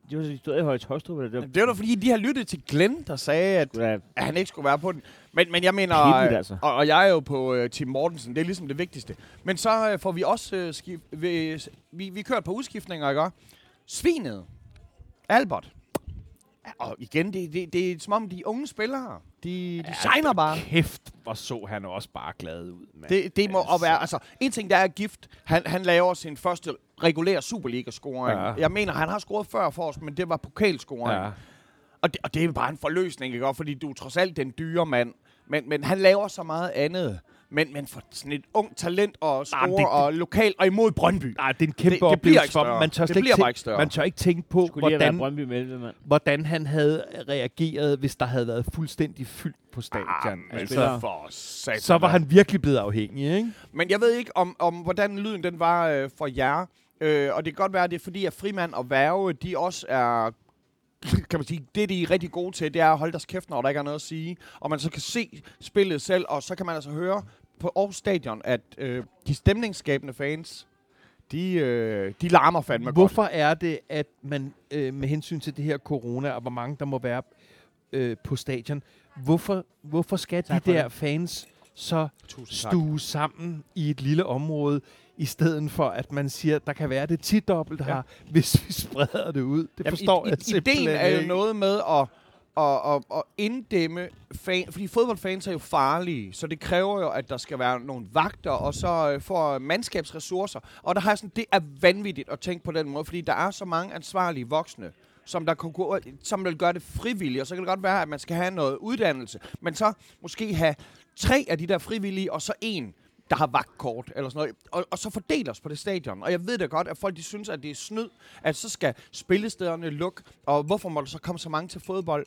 Speaker 3: Det var sådan, de stod i Høje Tostrup, eller det var
Speaker 2: det var da fordi, de har lyttet til Glenn, der sagde, at,
Speaker 3: sgu da
Speaker 2: at han ikke skulle være på den. Men, men jeg mener,
Speaker 3: pinligt,
Speaker 2: øh,
Speaker 3: altså.
Speaker 2: og, og jeg er jo på øh, Tim Mortensen, det er ligesom det vigtigste. Men så øh, får vi også, øh, skif, vi, vi, vi kørt på udskiftninger, ikke? også? Svinet. Albert. Og igen, det, det, det er som om de unge spillere, de, de ja, shiner bare.
Speaker 4: Kæft, hvor så han også bare glad ud, mand.
Speaker 2: Det, det må altså.
Speaker 4: Altså.
Speaker 2: være, altså, en ting der er gift, han, han laver sin første regulære Superliga-scoring. Ja.
Speaker 4: Ja.
Speaker 2: Jeg mener, han har scoret før for os, men det var pokalscoring. Ja.
Speaker 4: Ja.
Speaker 2: Og, det, og det er bare en forløsning, ikke? Og Fordi du er trods alt den dyre mand, men, men han laver så meget andet. Men, men for sådan et ung talent og score
Speaker 4: det-
Speaker 2: det,
Speaker 4: det-
Speaker 2: og lokal og imod Brøndby.
Speaker 4: Ej, det er en kæmpe
Speaker 2: Det- det bliver
Speaker 4: oplevelse
Speaker 2: ikke
Speaker 4: for
Speaker 2: større.
Speaker 4: dem. Man tør,
Speaker 2: Det
Speaker 4: slet ikke
Speaker 2: bliver bare
Speaker 4: tænke-
Speaker 2: ikke større.
Speaker 4: man tør ikke tænke på,
Speaker 3: skulle lige have været
Speaker 4: hvordan,
Speaker 3: Brøndby med, mand.
Speaker 4: hvordan han havde reageret, hvis der havde været fuldstændig fyldt på stadion.
Speaker 2: Ah, men altså,
Speaker 4: altså,
Speaker 3: spiller.
Speaker 2: for satan.
Speaker 4: så var han virkelig blevet afhængig, ikke?
Speaker 2: Men jeg ved ikke, om, om hvordan lyden den var øh, for jer. Øh, og det kan godt være, at det er fordi, at Frimand og Værge, de også er [LAUGHS] kan man sige, det de er rigtig gode til, det er at holde deres kæft, når der ikke er noget at sige. Og man så kan se spillet selv, og så kan man altså høre på Aarhus Stadion, at øh, de stemningsskabende fans, de, øh, de larmer fandme godt.
Speaker 4: Hvorfor er det, at man øh, med hensyn til det her corona, og hvor mange der må være øh, på stadion, hvorfor, hvorfor skal
Speaker 3: Tak for
Speaker 4: de der fans så
Speaker 2: Tusind tak.
Speaker 4: stue sammen i et lille område, i stedet for at man siger, der kan være det tidobbelt her, hvis vi spreder det ud? Det forstår
Speaker 2: i,
Speaker 4: jeg
Speaker 2: i, Ideen
Speaker 4: simpelthen
Speaker 2: er jo
Speaker 4: ikke.
Speaker 2: noget med at, at, at, at inddæmme fan, fordi fodboldfans er jo farlige, så det kræver jo, at der skal være nogle vagter, og så øh, får mandskabsressourcer. Og der har jeg sådan, det er vanvittigt at tænke på den måde, fordi der er så mange ansvarlige voksne, som, der kunne gå, som vil gøre det frivilligt, og så kan det godt være, at man skal have noget uddannelse, men så måske have tre af de der frivillige, og så en, der har vagtkort, eller sådan noget, og, og så fordeles på det stadion. Og jeg ved da godt, at folk de synes, at det er snyd, at så skal spillestederne lukke, og hvorfor må der så komme så mange til fodbold?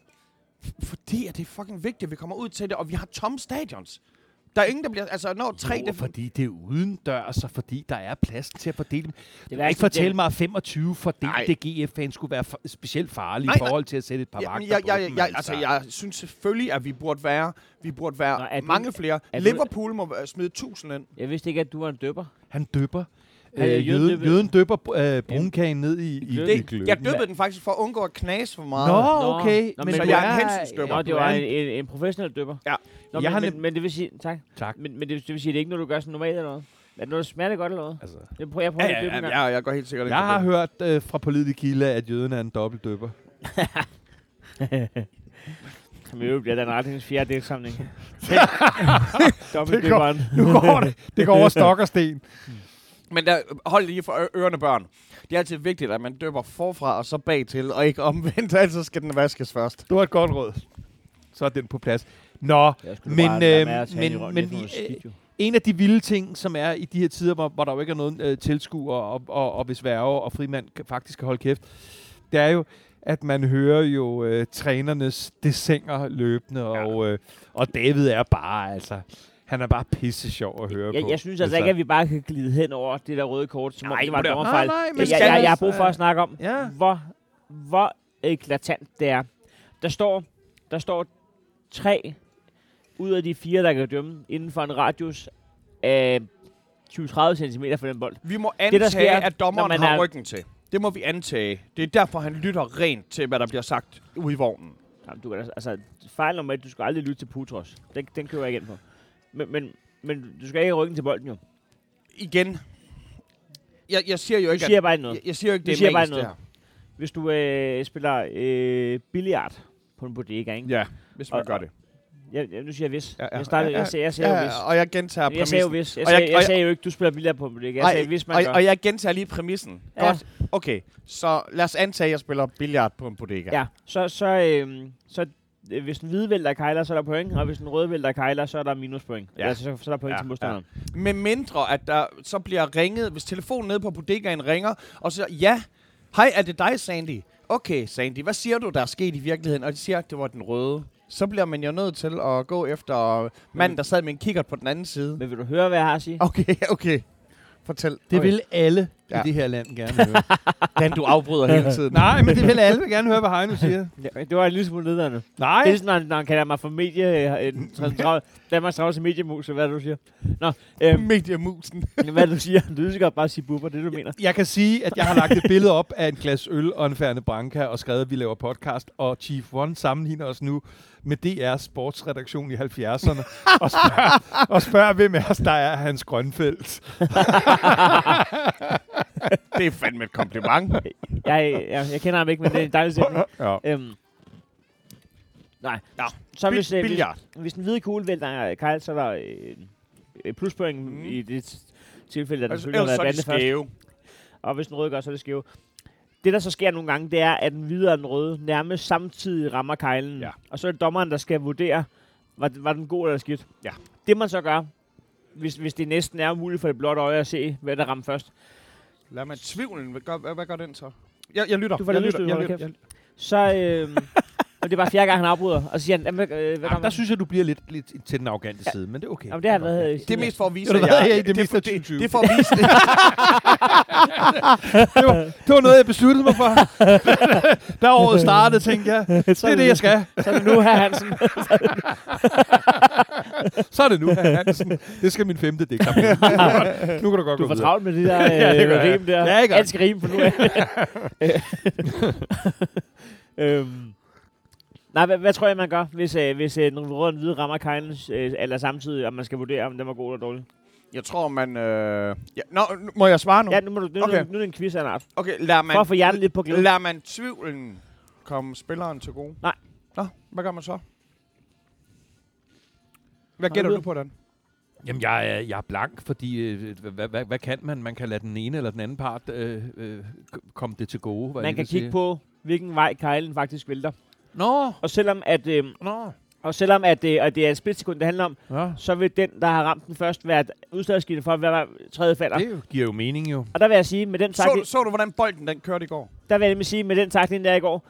Speaker 2: F- Fordi at det er fucking vigtigt, at vi kommer ud til det, og vi har tomme stadions. Der er ingen, der bliver... Altså, når tre...
Speaker 4: Jo,
Speaker 2: Det,
Speaker 4: fordi det er udendørs, og fordi der er plads til at fordele dem. Du
Speaker 3: var
Speaker 4: kan
Speaker 3: ikke
Speaker 4: ikke fortælle
Speaker 3: den-
Speaker 4: mig, at 25 for
Speaker 2: Nej.
Speaker 4: det GF-fan skulle være for, specielt farlige
Speaker 2: Nej,
Speaker 4: i
Speaker 2: nej.
Speaker 4: forhold til at sætte et par vagter
Speaker 2: Jamen, jeg,
Speaker 4: på
Speaker 2: jeg,
Speaker 4: dem,
Speaker 2: jeg, altså, jeg synes selvfølgelig, at vi burde være, vi burde være
Speaker 3: Nå,
Speaker 2: Nå,
Speaker 3: er du-
Speaker 2: mange flere.
Speaker 3: er du-
Speaker 2: Liverpool må øh, smide 1000 ind.
Speaker 3: Jeg vidste ikke, at du var en døber.
Speaker 4: Han døber.
Speaker 3: Han er
Speaker 4: Øh,
Speaker 3: jøden
Speaker 4: jøden,
Speaker 3: døber-
Speaker 4: jøden døber øh, brunkagen ned i, i, i
Speaker 2: Det,
Speaker 4: gløden.
Speaker 2: jeg døbte den faktisk for at undgå at knase for meget.
Speaker 4: Nå,
Speaker 3: Nå,
Speaker 4: okay.
Speaker 3: nå,
Speaker 4: Nå,
Speaker 3: men
Speaker 2: så
Speaker 4: du
Speaker 2: jeg er
Speaker 4: er-
Speaker 2: en hensensdømmer.
Speaker 3: Nå,
Speaker 2: Nå,
Speaker 3: det var en, en, en professionel døber.
Speaker 2: Ja.
Speaker 3: Nå,
Speaker 4: Jeg
Speaker 3: men,
Speaker 4: har
Speaker 3: men,
Speaker 4: nem-
Speaker 3: men, det vil sige, tak.
Speaker 4: Tak.
Speaker 3: Men, men det, vil- det vil sige, at det er ikke noget, du gør sådan normalt eller noget? Er det noget, der smager det godt eller noget?
Speaker 4: Altså,
Speaker 3: Jeg prøver, jeg prøver
Speaker 2: Ja,
Speaker 3: at
Speaker 2: ja,
Speaker 3: døbe en
Speaker 2: ja,
Speaker 3: gang.
Speaker 2: ja, jeg går helt sikkert ind
Speaker 4: jeg
Speaker 2: for
Speaker 4: har
Speaker 2: det.
Speaker 4: hørt øh, fra pålidelige kilder, at jøden er en dobbeltdøber.
Speaker 3: Som i øvrigt bliver Dan Ratings fjerde
Speaker 4: [LAUGHS]
Speaker 3: delsamling. Dobbeltdøberen.
Speaker 4: [LAUGHS] Nu går det. Det [LAUGHS] går over stok og sten.
Speaker 2: Men der, hold lige for ø- ørerne, børn. Det er altid vigtigt, at man døber forfra og så bagtil, og ikke omvendt, [LAUGHS] altså skal den vaskes først.
Speaker 4: Det var et godt råd. Så er den på plads. Nå,
Speaker 3: Jeg skulle
Speaker 4: men,
Speaker 3: bare lade
Speaker 4: øh,
Speaker 3: være at tage
Speaker 4: men,
Speaker 3: i røven,
Speaker 4: men
Speaker 3: det er for noget
Speaker 4: øh,
Speaker 3: skidt, jo.
Speaker 4: en af de vilde ting, som er i de her tider, hvor, hvor der jo ikke er nogen øh, tilskuer, og, og, og hvis værge og frimand kan- faktisk kan holde kæft, det er jo, at man hører jo øh, trænernes dessinger løbende, ja. og, øh, og David er bare, altså, han er bare pisse sjov at høre
Speaker 3: Jeg,
Speaker 4: på.
Speaker 3: jeg synes altså ikke, at vi bare kan glide hen over det der røde kort, som om
Speaker 4: Nej,
Speaker 3: det var en
Speaker 4: prøv at-
Speaker 3: dommerfejl.
Speaker 4: Nej, nej, men
Speaker 3: jeg, jeg,
Speaker 4: skal
Speaker 3: jeg, jeg har
Speaker 4: altså-
Speaker 3: brug for at snakke om,
Speaker 4: Ja.
Speaker 3: hvor, hvor eklatant det er. Der står, der står tre ud af de fire, der kan dømme inden for en radius af 20-30 cm fra den bold.
Speaker 2: Vi må
Speaker 3: der
Speaker 2: antage,
Speaker 3: sker,
Speaker 2: at dommeren
Speaker 3: når man
Speaker 2: har
Speaker 3: er-
Speaker 2: ryggen til. Det må vi antage. Det er derfor, han lytter rent til, hvad der bliver sagt ude i vognen.
Speaker 3: Jamen, du kan, da- altså, fejl nummer et, du skal aldrig lytte til Putros. Den, den kører jeg ikke ind på. Men, men, men du skal ikke have ryggen til bolden jo.
Speaker 2: Igen. Jeg, jeg siger jo
Speaker 3: Du
Speaker 2: ikke,
Speaker 3: siger
Speaker 2: at,
Speaker 3: bare ikke noget.
Speaker 2: jeg, jeg siger jo ikke,
Speaker 3: Du
Speaker 2: det
Speaker 3: siger
Speaker 2: er
Speaker 3: bare
Speaker 2: magisk, det
Speaker 3: noget.
Speaker 2: her.
Speaker 3: Hvis du øh, spiller øh, billiard på en bodega, ikke?
Speaker 2: Ja, hvis man
Speaker 3: Og-
Speaker 2: gør det.
Speaker 3: Jeg, jeg, nu siger jeg hvis.
Speaker 2: Ja, ja,
Speaker 3: jeg, startede,
Speaker 2: ja, ja.
Speaker 3: jeg, sagde, jeg sagde jo hvis.
Speaker 2: Ja, og jeg gentager
Speaker 3: Jeg sagde jo
Speaker 2: præmissen.
Speaker 3: hvis. Jeg
Speaker 2: Og jeg-
Speaker 3: sagde, jeg,
Speaker 2: og jeg-
Speaker 3: sagde jo ikke, du spiller billiard på en bodega. Jeg
Speaker 2: Ej,
Speaker 3: sagde, hvis man
Speaker 2: og,
Speaker 3: gør.
Speaker 2: og jeg gentager lige præmissen.
Speaker 3: Ja.
Speaker 2: Ja. Godt. Okay, så lad os antage, at jeg spiller billiard på en bodega.
Speaker 3: Ja, så, så, øhm, så øh, hvis den hvide vælter kejler, så er der point, og hvis den røde vælter kejler, så er der minuspoint. Ja.
Speaker 2: Ja.
Speaker 3: Altså, så, så er der point
Speaker 2: Ja,
Speaker 3: til modstanderen.
Speaker 2: Med mindre, at der så bliver ringet, hvis telefonen nede på bodegaen ringer, og så ja, hej, er det dig, Sandy? Okay, Sandy, hvad siger du, der er sket i virkeligheden? Og de siger, at det var den røde. Så bliver man jo nødt til at gå efter manden, der sad med en kikkert på den anden side.
Speaker 3: Men vil du høre, hvad jeg har at sige?
Speaker 2: Okay, okay. Fortæl.
Speaker 4: Det vil alle ja.
Speaker 2: Ja.
Speaker 4: i det her land gerne høre.
Speaker 2: Dan, du [LAUGHS] afbryder hele tiden.
Speaker 4: Nej, men det vil alle gerne høre, hvad Heino siger.
Speaker 3: Ja, det var en lille smule nederne. Det
Speaker 4: Nej,
Speaker 3: er ligesom, når han, når han kalder mig for medie... øh, en
Speaker 2: [LAUGHS]
Speaker 3: tra- tra- Danmarks travleste mediemus, hvad er det, du siger? Nå,
Speaker 2: [LAUGHS]
Speaker 3: øhm,
Speaker 2: Mediemusen.
Speaker 3: hvad er det, du siger? Du kan godt bare sige bubber, det er det, du mener.
Speaker 4: Jeg kan sige, at jeg har lagt et billede op af en glas øl og en færne branca og skrevet, at vi laver podcast, og Chief One sammenligner os nu med DR's sportsredaktion i 70'erne og spørger, og spørger, hvem af os der er Hans Grønfeldt.
Speaker 2: Det er fandme et
Speaker 3: [LAUGHS]
Speaker 2: kompliment.
Speaker 3: Jeg, jeg, jeg kender ham ikke, men det er en dejlig sætning.
Speaker 4: Ja.
Speaker 3: Øhm, nej.
Speaker 2: Nå,
Speaker 3: så hvis, øh, hvis,
Speaker 2: Billiard.
Speaker 3: Hvis den hvide kugle vælter Kyle, så er der øh, øh, pluspoint mm.
Speaker 2: Mm.
Speaker 3: i det t- tilfælde, at der
Speaker 2: Ellers
Speaker 3: selvfølgelig har
Speaker 2: Altså, ellers
Speaker 3: været
Speaker 2: så er det
Speaker 3: blandet først.
Speaker 2: skæve.
Speaker 3: Og hvis den røde gør, så er det skæve. Det, der så sker nogle gange, det er, at den hvide og den røde nærmest samtidig rammer kejlen.
Speaker 2: Ja.
Speaker 3: Og så er det dommeren, der skal vurdere, var, den- var den god eller skidt.
Speaker 2: Ja.
Speaker 3: Det man så gør, hvis, hvis det næsten er umuligt for det blotte øje at se, hvad der rammer først,
Speaker 2: Lad mig tvivlen. Hvad gør, hvad, hvad gør den så? Jeg, jeg lytter.
Speaker 3: Du får
Speaker 2: jeg
Speaker 3: det
Speaker 2: lytter.
Speaker 3: lydstød,
Speaker 2: Jeg
Speaker 3: hold
Speaker 2: lytter.
Speaker 3: kæft. så...
Speaker 2: [LAUGHS]
Speaker 3: Øh, og det er bare fjerde gang, han afbryder. Og så siger han, "Jamen, øh, hvad
Speaker 4: Jamen,
Speaker 3: rammer
Speaker 4: der
Speaker 3: den?"
Speaker 4: synes jeg, du bliver lidt, lidt til den arrogante side, men det er okay.
Speaker 3: Jamen, det har været... øh,
Speaker 2: Det er
Speaker 3: siden-
Speaker 2: mest for at vise,
Speaker 4: Ved du
Speaker 2: at
Speaker 4: hvad,
Speaker 2: jeg...
Speaker 4: jeg er ikke det mest
Speaker 2: for-
Speaker 4: af 2020.
Speaker 2: det er for at vise,
Speaker 4: det, var, det var noget, jeg besluttede mig for. da året startede, tænkte jeg, det er det, jeg skal.
Speaker 3: Så er det nu, her Hansen.
Speaker 4: Så er det nu, hr. Hansen. Det skal min femte
Speaker 3: [LAUGHS]
Speaker 4: digt. Nu kan du- Nu kan du godt
Speaker 3: Du
Speaker 4: gå
Speaker 3: får
Speaker 4: videre.
Speaker 3: travlt
Speaker 4: [LAUGHS]
Speaker 3: med de der
Speaker 4: Ja, det
Speaker 3: øh,
Speaker 4: gør jeg.
Speaker 3: rim der.
Speaker 4: Ja, jeg gør
Speaker 3: Alt skal rime på nu af. [LAUGHS] øhm. Nej, hvad, hvad tror jeg, man gør, hvis, øh, hvis øh, den røde og den hvide rammer kejlen, øh, eller samtidig, om man skal vurdere, om den var god eller dårlig?
Speaker 2: [LAUGHS] Jeg tror, man... Øh... Ja, nå, nu- må jeg svare nu?
Speaker 3: Ja, nu, må du, nu, okay.
Speaker 2: Okay.
Speaker 3: nu, nu er det en quiz af en art.
Speaker 2: Okay, lader man,
Speaker 3: For at få hjertet lidt på glæde.
Speaker 2: lader man tvivlen komme spilleren til gode?
Speaker 3: Nej.
Speaker 2: Nå, hvad gør man så? Hvad
Speaker 3: du
Speaker 2: gætter du
Speaker 3: bud?
Speaker 2: på, den?
Speaker 4: Jamen, jeg er, jeg er blank, fordi øh, hvad, hvad, hvad kan man? Man kan lade den ene eller den anden part øh, øh, k- komme det til gode. Hvad
Speaker 3: Man kan kigge på, hvilken vej kejlen faktisk vælter.
Speaker 4: Nå,
Speaker 3: Og selvom, at, øh,
Speaker 4: nå.
Speaker 3: og selvom at, øh, at det er et splitsekund, det handler om,
Speaker 4: Ja.
Speaker 3: så vil den, der har ramt den først, være udslagsgivende for, hvad tredje falder.
Speaker 4: Det jo- giver jo mening jo.
Speaker 3: Og der vil jeg sige, med den
Speaker 2: Så,
Speaker 3: taktik,
Speaker 2: du- så du, hvordan bolden den kørte i går?
Speaker 3: der vil jeg nemlig sige, med den takling der i går,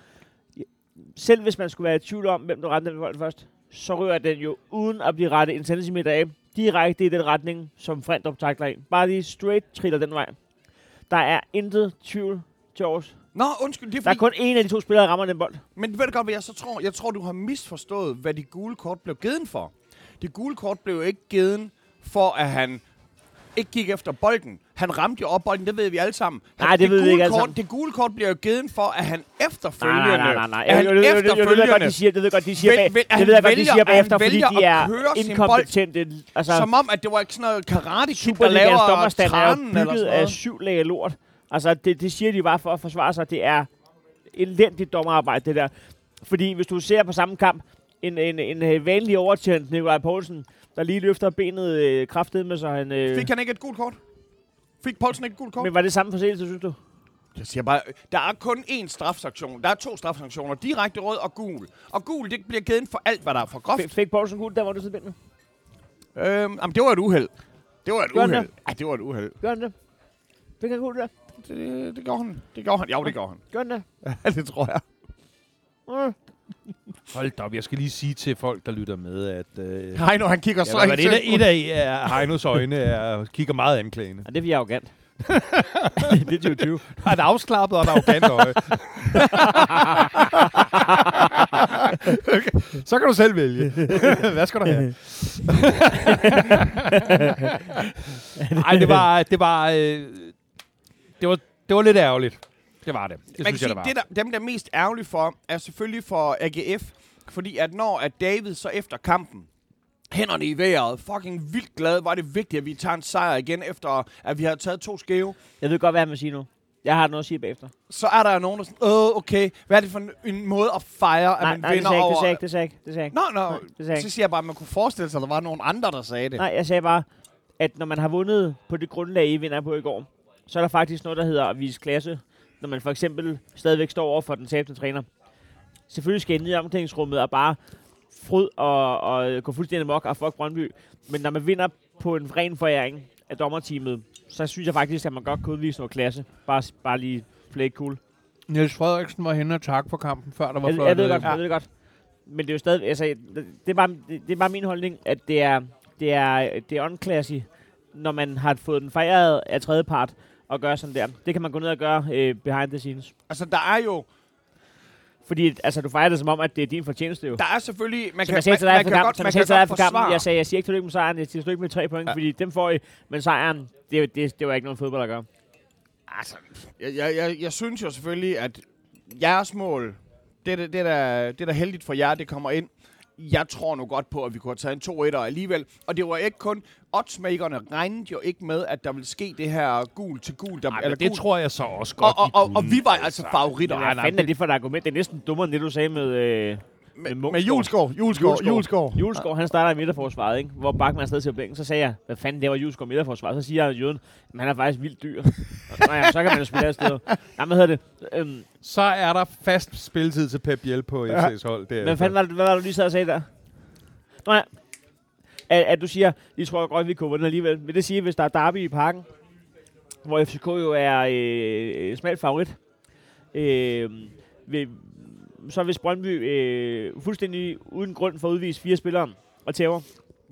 Speaker 3: selv hvis man skulle være i tvivl om, hvem der ramte den bold først, så rører den jo uden at blive rettet en centimeter af, direkte i den retning, som Frendrup takler ind. Bare lige straight triller den vej. Der er intet tvivl til års.
Speaker 2: Nå, undskyld, det er
Speaker 3: Der er
Speaker 2: fordi...
Speaker 3: kun en af de to spillere, der rammer den bold.
Speaker 2: Men ved du godt, hvad jeg så tror? Jeg tror, du har misforstået, hvad de gule kort blev givet for. Det gule kort blev jo ikke givet for, at han ikke gik efter bolden. Han ramte jo op bolden, det ved vi alle sammen. Han-
Speaker 3: Nej, det ved vi
Speaker 2: gule
Speaker 3: ikke alle
Speaker 2: kort,
Speaker 3: sammen.
Speaker 2: Det gule kort bliver jo givet for, at han efterfølgende...
Speaker 3: Nej, nej, nej, nej.
Speaker 2: at
Speaker 3: Jeg,
Speaker 2: han
Speaker 3: jeg, jeg, jeg, jeg, jeg, jeg ved godt, de siger, det ved jeg godt, de siger,
Speaker 2: Vel-
Speaker 3: bag,
Speaker 2: vel- at
Speaker 3: det ved jeg
Speaker 2: han
Speaker 3: godt, de
Speaker 2: vælger-
Speaker 3: siger
Speaker 2: at han
Speaker 3: bagefter, fordi
Speaker 2: vælger
Speaker 3: de
Speaker 2: at
Speaker 3: er
Speaker 2: køre sin bold.
Speaker 3: inkompetente. Altså,
Speaker 2: Som om, at det var ikke sådan noget karate kid der
Speaker 3: Superligaens
Speaker 2: laver
Speaker 3: dommerstand er jo
Speaker 2: tranen eller
Speaker 3: bygget
Speaker 2: sådan
Speaker 3: af
Speaker 2: noget.
Speaker 3: syv lag lort. Altså, det, det siger de bare for at forsvare sig. Det er elendigt dommerarbejde, det der. Fordi hvis du ser på samme kamp, en, en, en, øh, vanlig overtjent Nikolaj Poulsen, der lige løfter benet øh, kraftedet med sig. Han, øh,
Speaker 2: Fik han ikke et gult kort? Fik Poulsen ikke et gult kort?
Speaker 3: men var det samme forseelse, synes du?
Speaker 2: Jeg siger bare, der er kun én strafsanktion. Der er to strafsanktioner. Direkte rød og gul. Og gul, det bliver givet for alt, hvad der er for groft.
Speaker 3: Fik, fik Poulsen gul, der var du til benet?
Speaker 2: Øhm, jamen, det var et uheld. Det var et
Speaker 3: Gjorde han
Speaker 2: uheld. Ej, det var et uheld.
Speaker 3: Gør den det? Det kan godt det.
Speaker 2: Det, det gjorde han. Det gjorde han. Jo, det gjorde han.
Speaker 3: Gør den det.
Speaker 2: [LAUGHS] Ja, det tror jeg.
Speaker 3: Mm.
Speaker 4: Hold da op, jeg skal lige sige til folk, der lytter med, at... Øh,
Speaker 2: Heino, han kigger
Speaker 4: Ja,
Speaker 2: så
Speaker 4: hvad var det et af,
Speaker 2: ikke
Speaker 4: et af er, Heinos øjne er, kigger meget anklagende.
Speaker 3: Ja, det er fordi, jeg
Speaker 2: [LAUGHS]
Speaker 3: er arrogant. [LAUGHS]
Speaker 4: det er 20. Har et afslappet og et arrogant øje. [LAUGHS] okay. Så kan du selv vælge. [LAUGHS] Hvad skal du [LAUGHS] have? Nej, det var, det var, øh, det var, det var lidt ærgerligt. Det var det. Det
Speaker 2: Man kan
Speaker 4: synes
Speaker 2: sige,
Speaker 4: jeg, det var.
Speaker 2: det der, dem, der er mest ærgerlige for, er selvfølgelig for AGF. Fordi at når at David så efter kampen, hænderne i vejret, fucking vildt glad, var det vigtigt, at vi tager en sejr igen, efter at vi har taget to skæve.
Speaker 3: Jeg ved godt, hvad han vil sige nu. Jeg har noget at sige bagefter.
Speaker 2: Så er der nogen, der sådan, øh, okay, hvad er det for en, en måde at fejre, at
Speaker 3: nej,
Speaker 2: man
Speaker 3: nej, det
Speaker 2: vinder
Speaker 3: sagde jeg ikke,
Speaker 2: over...
Speaker 3: det sagde jeg ikke, det sagde jeg ikke, det sagde jeg ikke.
Speaker 2: Nå, nå,
Speaker 3: Nej, det sagde jeg
Speaker 2: så siger jeg bare, at man kunne forestille sig, at der var nogen andre, der sagde det.
Speaker 3: Nej, jeg sagde bare, at når man har vundet på det grundlag, I vinder på i går, så er der faktisk noget, der hedder at vise klasse, når man for eksempel stadigvæk står over for den tabte træner. Selvfølgelig skal jeg ned i omklædningsrummet og bare fryd og, og gå fuldstændig mok og fuck Brøndby. Men når man vinder på en ren foræring af dommerteamet, så synes jeg faktisk, at man godt kunne udvise noget klasse. Bare, bare lige flæk cool.
Speaker 4: Niels Frederiksen var henne og tak for kampen, før der var
Speaker 3: Jeg, jeg ved godt, jeg ved det godt. Men det er jo stadig, altså, det er bare, det, det er bare min holdning, at det er, det er, det er unclassy, når man har fået den fejret af tredje part, og gøre sådan der. Det kan man gå ned og gøre øh, behind the scenes.
Speaker 2: Altså, der er jo...
Speaker 3: Fordi altså, du fejrer det som om, at det er din fortjeneste jo.
Speaker 2: Der er selvfølgelig... Man
Speaker 3: Som
Speaker 2: kan,
Speaker 3: jeg sagde til dig
Speaker 2: man,
Speaker 3: efter
Speaker 2: man kan
Speaker 3: kampen,
Speaker 2: godt,
Speaker 3: som
Speaker 2: man
Speaker 3: jeg
Speaker 2: kan
Speaker 3: sagde til dig
Speaker 2: godt
Speaker 3: efter kampen,
Speaker 2: forsvare.
Speaker 3: jeg sagde, jeg siger ikke tillykke med sejren, jeg siger tillykke med tre point,
Speaker 2: Ja.
Speaker 3: fordi dem får I, men sejren, det, det, det var ikke noget fodbold at gøre.
Speaker 2: Altså, jeg, jeg, jeg, jeg synes jo selvfølgelig, at jeres mål, det, det, det, der, det der heldigt for jer, det kommer ind. Jeg tror nu godt på, at vi kunne have taget en 2-1'er alligevel. Og det var ikke kun... Oddsmakerne regnede jo ikke med, at der ville ske det her gul til gul. Der,
Speaker 4: Ej, men det
Speaker 2: gul.
Speaker 4: tror jeg så også godt,
Speaker 2: og, og,
Speaker 4: de
Speaker 2: og, og
Speaker 4: kunne.
Speaker 2: vi var altså favoritter.
Speaker 3: Hvad fanden er det for et argument? Det er næsten dummere end det, du sagde med... Øh,
Speaker 2: Med,
Speaker 3: Munchsgaard.
Speaker 2: med Julesgaard. Julesgaard. Julesgaard.
Speaker 3: Julesgav, han starter i midterforsvaret, ikke? hvor Bachmann stadig til bænken. Så sagde jeg, hvad fanden laver Julesgaard i midterforsvaret? Så siger jeg, Jøden, men han er faktisk vildt dyr. Nej, ja, så kan man jo spille afsted. Nej, hvad hedder det? Øhm,
Speaker 4: Så er der fast spilletid til Pep Biel på FC's hold. Det
Speaker 3: men fanden, var det, hvad var det, du lige sad og sagde der? Nå ja. At, at du siger, I tror godt, vi kunne vinde alligevel. Vil det sige, hvis der er derby i parken, hvor FCK jo er øh, smalt favorit, øh, vil, så hvis Brøndby øh, fuldstændig uden grund for at udvise fire spillere og tæver,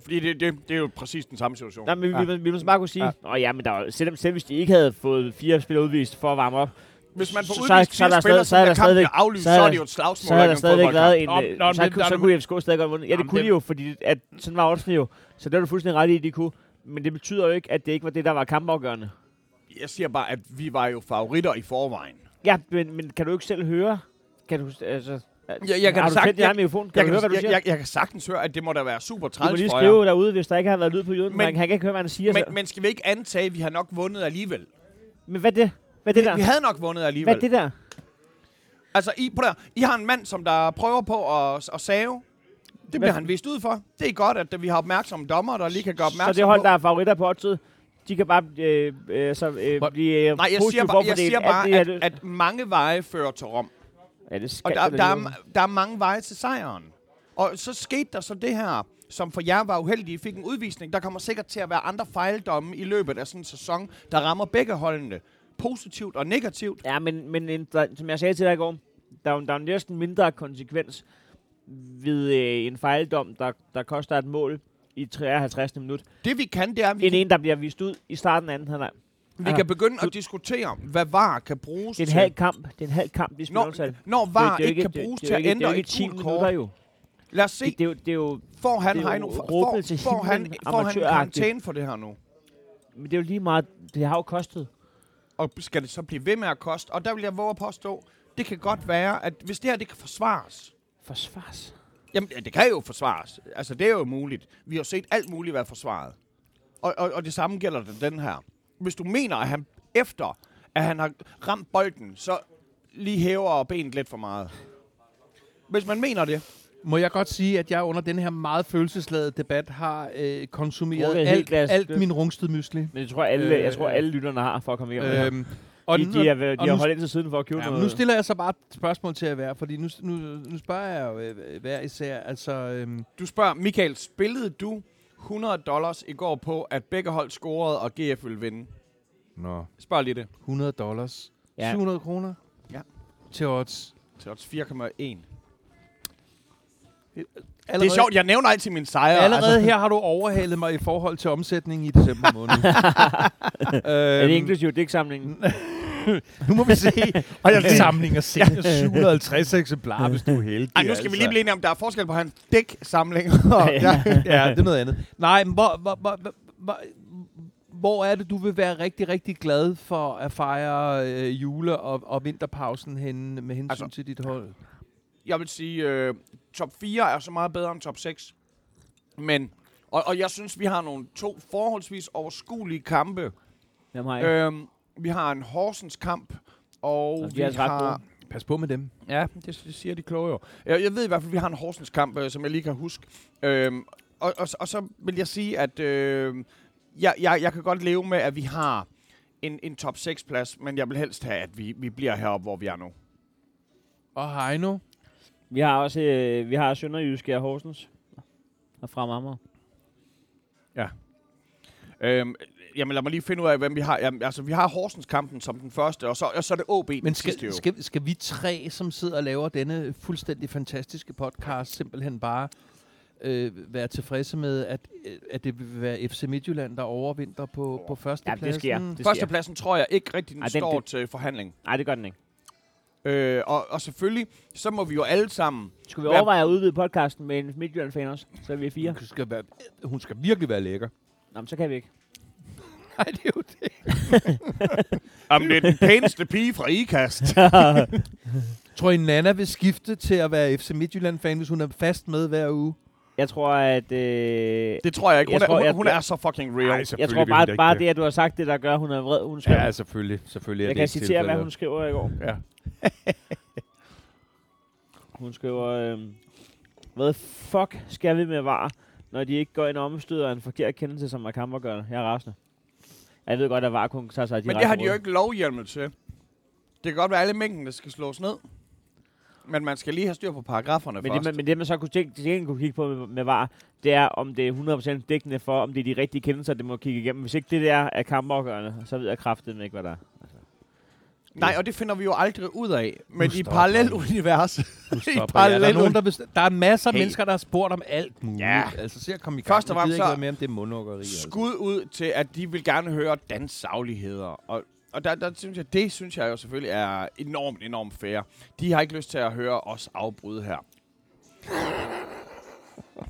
Speaker 2: Fordi det, det, det er jo præcis den samme situation.
Speaker 3: Nej, men
Speaker 4: Ja.
Speaker 3: ja. vi, vi, vi, må så bare kunne sige, ja. Nå, ja, men der, var- selvom, selv hvis de ikke havde fået fire spillere udvist for at varme op,
Speaker 2: Hvis man får
Speaker 3: så- så-
Speaker 2: udvist
Speaker 3: så er
Speaker 2: fire
Speaker 3: der
Speaker 2: spillere,
Speaker 3: stadig- så
Speaker 2: så
Speaker 3: er
Speaker 2: er
Speaker 3: der
Speaker 2: kampen bliver
Speaker 3: stadigvæk-
Speaker 2: aflyst,
Speaker 3: så er
Speaker 2: så er
Speaker 3: der-
Speaker 2: det jo et slagsmål,
Speaker 3: så havde der
Speaker 2: ikke en
Speaker 3: stadigvæk været en...
Speaker 4: Nå,
Speaker 3: øh,
Speaker 4: nå, men
Speaker 3: så,
Speaker 4: det-
Speaker 3: kunne,
Speaker 4: der
Speaker 3: så
Speaker 4: er
Speaker 3: kunne FCK stadig godt vundet. Ja, det
Speaker 2: Jamen,
Speaker 3: kunne
Speaker 2: det-
Speaker 3: de jo, fordi at, sådan var oddsene jo. Så det var du fuldstændig ret i, de kunne. Men det betyder jo ikke, at det ikke var det, der var kampafgørende.
Speaker 2: Jeg siger bare, at vi var jo favoritter i forvejen.
Speaker 3: Ja, men, men kan du ikke selv høre? Kan du, altså,
Speaker 2: jeg kan da
Speaker 3: har du
Speaker 2: sagt-
Speaker 3: tændt din
Speaker 2: jeg-
Speaker 3: egen mikrofon? Kan
Speaker 2: jeg,
Speaker 3: du høre, hvad du
Speaker 2: jeg,
Speaker 3: siger?
Speaker 2: jeg, jeg kan sagtens høre, at det må da være super
Speaker 3: du må
Speaker 2: træls
Speaker 3: lige
Speaker 2: for jer.
Speaker 3: skrive derude, hvis der ikke har været lyd på jøden.
Speaker 2: Men-
Speaker 3: Men, han kan ikke høre, hvad han siger. Men,
Speaker 2: Men, men skal vi ikke antage, at vi har nok vundet alligevel?
Speaker 3: men hvad er det? Hvad er det der?
Speaker 2: Vi havde nok vundet
Speaker 3: Hvad
Speaker 2: alligevel.
Speaker 3: er det der?
Speaker 2: Altså, I, prøv der, I har en mand, som der prøver på at, at save. Det bliver
Speaker 3: Hvad-
Speaker 2: han vist ud for. Det er godt, at vi har opmærksomme dommer, der lige kan gøre opmærksom
Speaker 3: Så det hold,
Speaker 2: på.
Speaker 3: der er favoritter på oddset, de kan bare øh, øh, så, øh,
Speaker 4: Hvor-
Speaker 3: blive øh,
Speaker 2: Nej, jeg siger
Speaker 3: positivt
Speaker 2: bare, jeg
Speaker 3: forfordelt
Speaker 2: siger
Speaker 3: af det,
Speaker 2: bare
Speaker 3: jeg
Speaker 2: at,
Speaker 3: har lyst-
Speaker 2: at mange veje fører til Rom.
Speaker 3: Ja, det skal
Speaker 2: Og der, der, er, der er mange veje til sejren. Og så skete der så det her, som for jer var uheldige, I fik en udvisning. Der kommer sikkert til at være andre fejldomme i løbet af sådan en sæson, der rammer begge holdene. Positivt og negativt.
Speaker 3: Ja, men, men en, der, som jeg sagde til dig i går, der er jo- der er jo næsten mindre konsekvens ved øh, en fejldom, der, der koster et mål i 53. minut,
Speaker 2: Det vi kan, det er, at vi,
Speaker 3: end en, der bliver vist ud i starten af anden halvleg.
Speaker 2: vi kan begynde at diskutere, hvad VAR kan bruges
Speaker 3: Det er
Speaker 2: til.
Speaker 3: en halv kamp, det er en halv kamp, de spiller
Speaker 2: Når,
Speaker 3: omtalt.
Speaker 2: når VAR ikke kan bruges til at ændre et gult
Speaker 3: minutter
Speaker 2: kort.
Speaker 3: jo.
Speaker 2: Lad os se,
Speaker 3: Det, det, er jo, det, er jo,
Speaker 2: får han,
Speaker 3: det er jo
Speaker 2: Heino, får,
Speaker 3: råbet til
Speaker 2: får, han,
Speaker 3: himlen,
Speaker 2: får han
Speaker 3: amatøragtigt.
Speaker 2: karantæne for det her nu?
Speaker 3: men det er jo lige meget, det har jo kostet.
Speaker 2: Og skal det så blive ved med at koste? Og der vil jeg våge at påstå, det kan godt være, at hvis det her det kan forsvares,
Speaker 3: Forsvars.
Speaker 2: Jamen, ja, det kan jo forsvares. Altså, det er jo muligt. Vi har jo set alt muligt være forsvaret. Og, og, og det samme gælder den, den her. Hvis du mener, at han efter, at han har ramt bolden, så lige hæver benet lidt for meget. Hvis man mener det.
Speaker 4: Må jeg godt sige, at jeg under den her meget følelsesladede debat har øh, konsumeret
Speaker 3: Drukket et helt
Speaker 4: alt,
Speaker 3: glas.
Speaker 4: alt min rungsted mysli.
Speaker 3: Men det tror jeg, alle,
Speaker 4: Øh,
Speaker 3: jeg tror, alle lytterne har for at komme igennem. Øh,
Speaker 4: Øhm,
Speaker 3: og de,
Speaker 4: nu-
Speaker 3: de, er, ved-
Speaker 4: og
Speaker 3: de har
Speaker 4: nu-
Speaker 3: holdt ind til siden for at købe
Speaker 4: Ja, men
Speaker 3: noget.
Speaker 4: nu stiller jeg så bare et spørgsmål til jer hver, fordi nu, nu, nu spørger jeg jo øh, hver øh, især, altså... Øhm,
Speaker 2: Du spørger, Michael, spillede du 100 dollars i går på, at begge hold scorede, og GF ville vinde.
Speaker 4: Nå.
Speaker 2: Spørg lige det.
Speaker 4: 100 dollars.
Speaker 3: Ja.
Speaker 4: 700 kroner.
Speaker 2: Ja.
Speaker 4: Til odds.
Speaker 2: Til odds 4,1. Det
Speaker 4: Allerede-
Speaker 2: er sjovt, jeg nævner altid min sejr.
Speaker 4: Allerede altså. her har du overhalet mig i forhold til omsætningen i december måned.
Speaker 3: Er det
Speaker 4: øhm,
Speaker 3: inklusive digtsamlingen? [LAUGHS]
Speaker 4: nu må vi se. Og jeg samlinger
Speaker 3: sælger
Speaker 4: 750 eksemplarer, hvis du er heldig. altså.
Speaker 2: Ej, nu skal vi lige blive enige om, der er forskel på hans dæksamling. og-
Speaker 3: Ja.
Speaker 4: [LAUGHS] ja, det er noget andet. Nej, men hvor, hvor, hvor, hvor- hvor, hvor er det, du vil være rigtig, rigtig glad for at fejre øh, jule- og, og vinterpausen henne med hensyn altså,
Speaker 2: Altså-
Speaker 4: til dit hold?
Speaker 2: jeg vil sige, øh, top 4 er så meget bedre end top 6. Men, og, og jeg synes, vi har nogle to forholdsvis overskuelige kampe.
Speaker 3: Hvem har
Speaker 4: Øh.
Speaker 3: jeg?
Speaker 2: Øhm, vi har en Horsens kamp, og
Speaker 3: Og de
Speaker 2: vi
Speaker 3: er altså ret
Speaker 2: har...
Speaker 4: Pas på med dem.
Speaker 2: Ja, det, det siger de kloge jo. Jeg, jeg ved i hvert fald, at vi har en Horsens kamp, øh, som jeg lige kan huske. Øhm, og, og, og så vil jeg sige, at øh, jeg, jeg, jeg kan godt leve med, at vi har en, en top 6-plads, men jeg vil helst have, at vi, vi bliver heroppe, hvor vi er nu.
Speaker 4: Og Heino.
Speaker 3: Vi har også øh, vi har Sønderjyske og Horsens. Og fra Amager.
Speaker 2: Øhm, jamen lad mig lige finde ud af, hvem vi har. Jamen, altså, vi har Horsens-kampen som den første, og så, og så er det OB
Speaker 4: Men
Speaker 2: den sidste jo.
Speaker 4: skal, skal, skal vi tre, som sidder og laver denne fuldstændig fantastiske podcast, simpelthen bare øh, være tilfredse med, at, øh, at det vil være FC Midtjylland, der overvinder på, på
Speaker 3: Ja,
Speaker 4: førstepladsen?
Speaker 3: det sker. Det sker.
Speaker 2: Førstepladsen tror jeg ikke rigtig, den
Speaker 3: Ej,
Speaker 2: Ej,
Speaker 3: den-
Speaker 2: står
Speaker 3: den-
Speaker 2: til forhandling.
Speaker 3: Nej, det gør den ikke.
Speaker 2: Øh, og, og selvfølgelig, så må vi jo alle sammen...
Speaker 3: Skulle vi
Speaker 2: Hvem-
Speaker 3: overveje at udvide podcasten med en Midtjylland-fan også? Så er vi fire.
Speaker 4: Hun skal, være, hun skal virkelig være [LAUGHS] lækker.
Speaker 3: Nå, men så kan vi ikke.
Speaker 4: Nej, det er jo det.
Speaker 2: Jamen, det er den pæneste pige fra [LAUGHS] IKAST.
Speaker 4: Tror I, Nana vil skifte til at være FC Midtjylland-fan, hvis hun er fast med hver uge?
Speaker 3: Jeg tror, at... Øh,
Speaker 2: Det tror jeg ikke. Hun,
Speaker 3: Jeg
Speaker 2: jeg er, tror,
Speaker 3: tror,
Speaker 2: hun,
Speaker 3: jeg-
Speaker 2: hun er så fucking real.
Speaker 4: Ej,
Speaker 2: Ej,
Speaker 4: så-
Speaker 3: jeg tror
Speaker 4: Selvfølgelig vil
Speaker 3: bare,
Speaker 4: hun da
Speaker 3: bare
Speaker 4: ikke
Speaker 3: det, at du har sagt det, der gør, at hun er vred. Hun skal
Speaker 4: selvfølgelig. selvfølgelig
Speaker 3: jeg kan citere, hvad hun skriver i går.
Speaker 4: Ja.
Speaker 3: [LAUGHS] Hun skriver, øh, hvad fuck skal vi med var, når de ikke går ind og omstøder en forkert kendelse, som er kampergørende? Jeg er rasende. Jeg ved godt, at var kun tager sig af de
Speaker 2: Men det har de jo ikke lovhjemmel til. Det kan godt være alle mængden, der skal slås ned. Men man skal lige have styr på paragraferne
Speaker 3: Men
Speaker 2: først.
Speaker 3: det, man, men det, man så kunne tænke, til gengæld kunne kigge på med, med var, det er, om det er 100% dækkende for, om det er de rigtige kendelser, det må kigge igennem. Hvis ikke det der er kampafgørende, så ved jeg kraftedeme ikke, hvad der er.
Speaker 2: Nej, og det finder vi jo aldrig ud af. Men i
Speaker 4: stopper
Speaker 2: parallelunivers. [LAUGHS]
Speaker 4: I
Speaker 2: parallel-
Speaker 4: parallel. Der, er nogen, der, bes- der er masser af
Speaker 2: Hey.
Speaker 4: mennesker, der har spurgt om alt muligt.
Speaker 2: Ja.
Speaker 4: Altså, se at komme i gang.
Speaker 2: Først og
Speaker 4: Jeg gider
Speaker 2: fremmest
Speaker 4: ikke
Speaker 2: så-
Speaker 4: høre mere om det mundhuggeri. altså.
Speaker 2: skud ud til, at de vil gerne høre danssagligheder. Og, og der, der synes jeg, det synes jeg jo selvfølgelig er enormt, enormt fair. De har ikke lyst til at høre os afbryde her.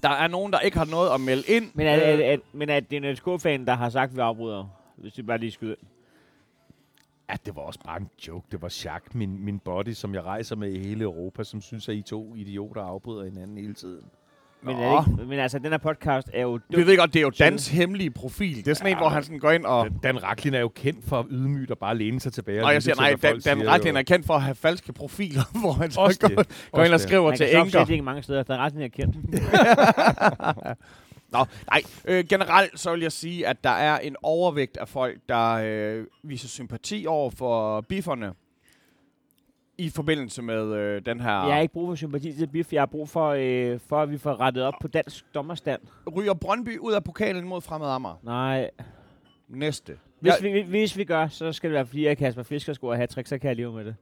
Speaker 2: Der er nogen, der ikke har noget at melde ind.
Speaker 3: Men at, at,
Speaker 2: Øh,
Speaker 3: at, men at det er en FCK-fan, der har sagt, at vi afbryder, hvis vi bare lige skyder. ind.
Speaker 4: Ja, det var også bare en joke. Det var Jacques, min, min body, som jeg rejser med i hele Europa, som synes, at I to idioter afbryder hinanden hele tiden.
Speaker 3: Men,
Speaker 2: Øh, Nå.
Speaker 3: er det ikke, men altså, den her podcast er jo
Speaker 2: vi ved godt, det er jo Dans hemmelige profil. Det er sådan ja. en,
Speaker 4: Ja.
Speaker 2: hvor han sådan går ind og...
Speaker 4: Dan, Dan Raklin er jo kendt for at ydmygt og bare læne sig tilbage.
Speaker 2: Og jeg siger, nej, Dan, Dan Racklin er
Speaker 4: er
Speaker 2: kendt for at have falske profiler, [LAUGHS] hvor han så
Speaker 4: Også det.
Speaker 2: går, går ind og
Speaker 4: Også det.
Speaker 2: skriver
Speaker 3: Man
Speaker 2: til
Speaker 3: kan
Speaker 2: enker.
Speaker 3: ikke mange steder, der er retten er kendt.
Speaker 2: Nå, nej. Øh, generelt så vil jeg sige, at der er en overvægt af folk, der øh, viser sympati over for bifferne i forbindelse med øh, den her
Speaker 3: Jeg har ikke brug for sympati til BIF, jeg har brug for, øh, for at vi får rettet op på dansk dommerstand.
Speaker 2: ryger Brøndby ud af pokalen mod Fremad Amager. Nej. Næste.
Speaker 3: Hvis,
Speaker 2: Jeg-
Speaker 3: ja. vi, hvis vi gør, så skal det være fordi, at Kasper Fisker scorer hat så kan jeg leve med det.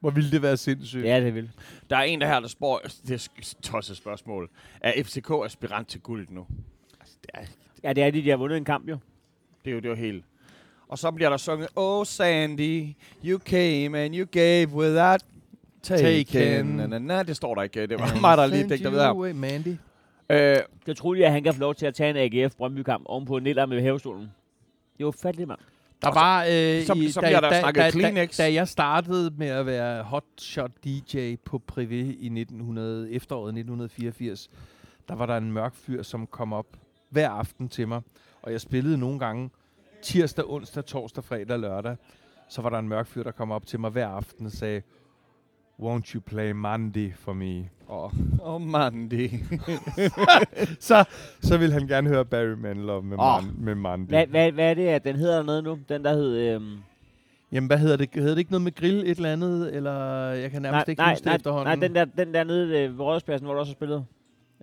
Speaker 4: Hvor ville det være sindssygt.
Speaker 3: Ja, det vil.
Speaker 2: Der er en der her, der spørger, det er sk- tosset spørgsmål, er FCK aspirant til guld nu? Altså, det er,
Speaker 3: Ja, det er det, de har vundet en kamp jo.
Speaker 2: det er jo det er jo helt... Og så bliver der sunget, Oh Sandy, you came and you gave without taking.
Speaker 4: Taken.
Speaker 2: Na, na, na. Det står der ikke. Det var mig, der lige dækte det videre.
Speaker 4: Away, Mandy.
Speaker 2: Øh,
Speaker 3: Jeg troede lige, at han kan få lov til at tage en AGF Brøndby-kamp ovenpå Niller med havestolen. Det var fattigt, mand.
Speaker 2: Mm.
Speaker 4: Der var, øh,
Speaker 2: så
Speaker 4: i,
Speaker 2: bliver der snakket
Speaker 4: da,
Speaker 2: Kleenex.
Speaker 4: Da, da jeg startede med at være hotshot DJ på Privé i 1900, efteråret 1984, der var der en mørk fyr, som kom op hver aften til mig. Og jeg spillede nogle gange tirsdag, onsdag, torsdag, fredag, lørdag. Så var der en mørk fyr, der kom op til mig hver aften og sagde, Won't you play Monday for me?
Speaker 2: Åh, oh, Mandy.
Speaker 4: Så, så ville han gerne høre Barry Manilow med,
Speaker 2: Åh.
Speaker 4: oh. man, med Monday.
Speaker 3: Hvad, hvad, hvad er det, at den hedder dernede nu? Den der hed... Øhm,
Speaker 4: Jamen, hvad hedder det? Hedder det ikke noget med grill et eller andet? Eller jeg kan nærmest ikke huske det
Speaker 3: nej,
Speaker 4: efterhånden.
Speaker 3: nej, den der, den der nede øh, ved Rådhuspladsen, hvor du også har spillet.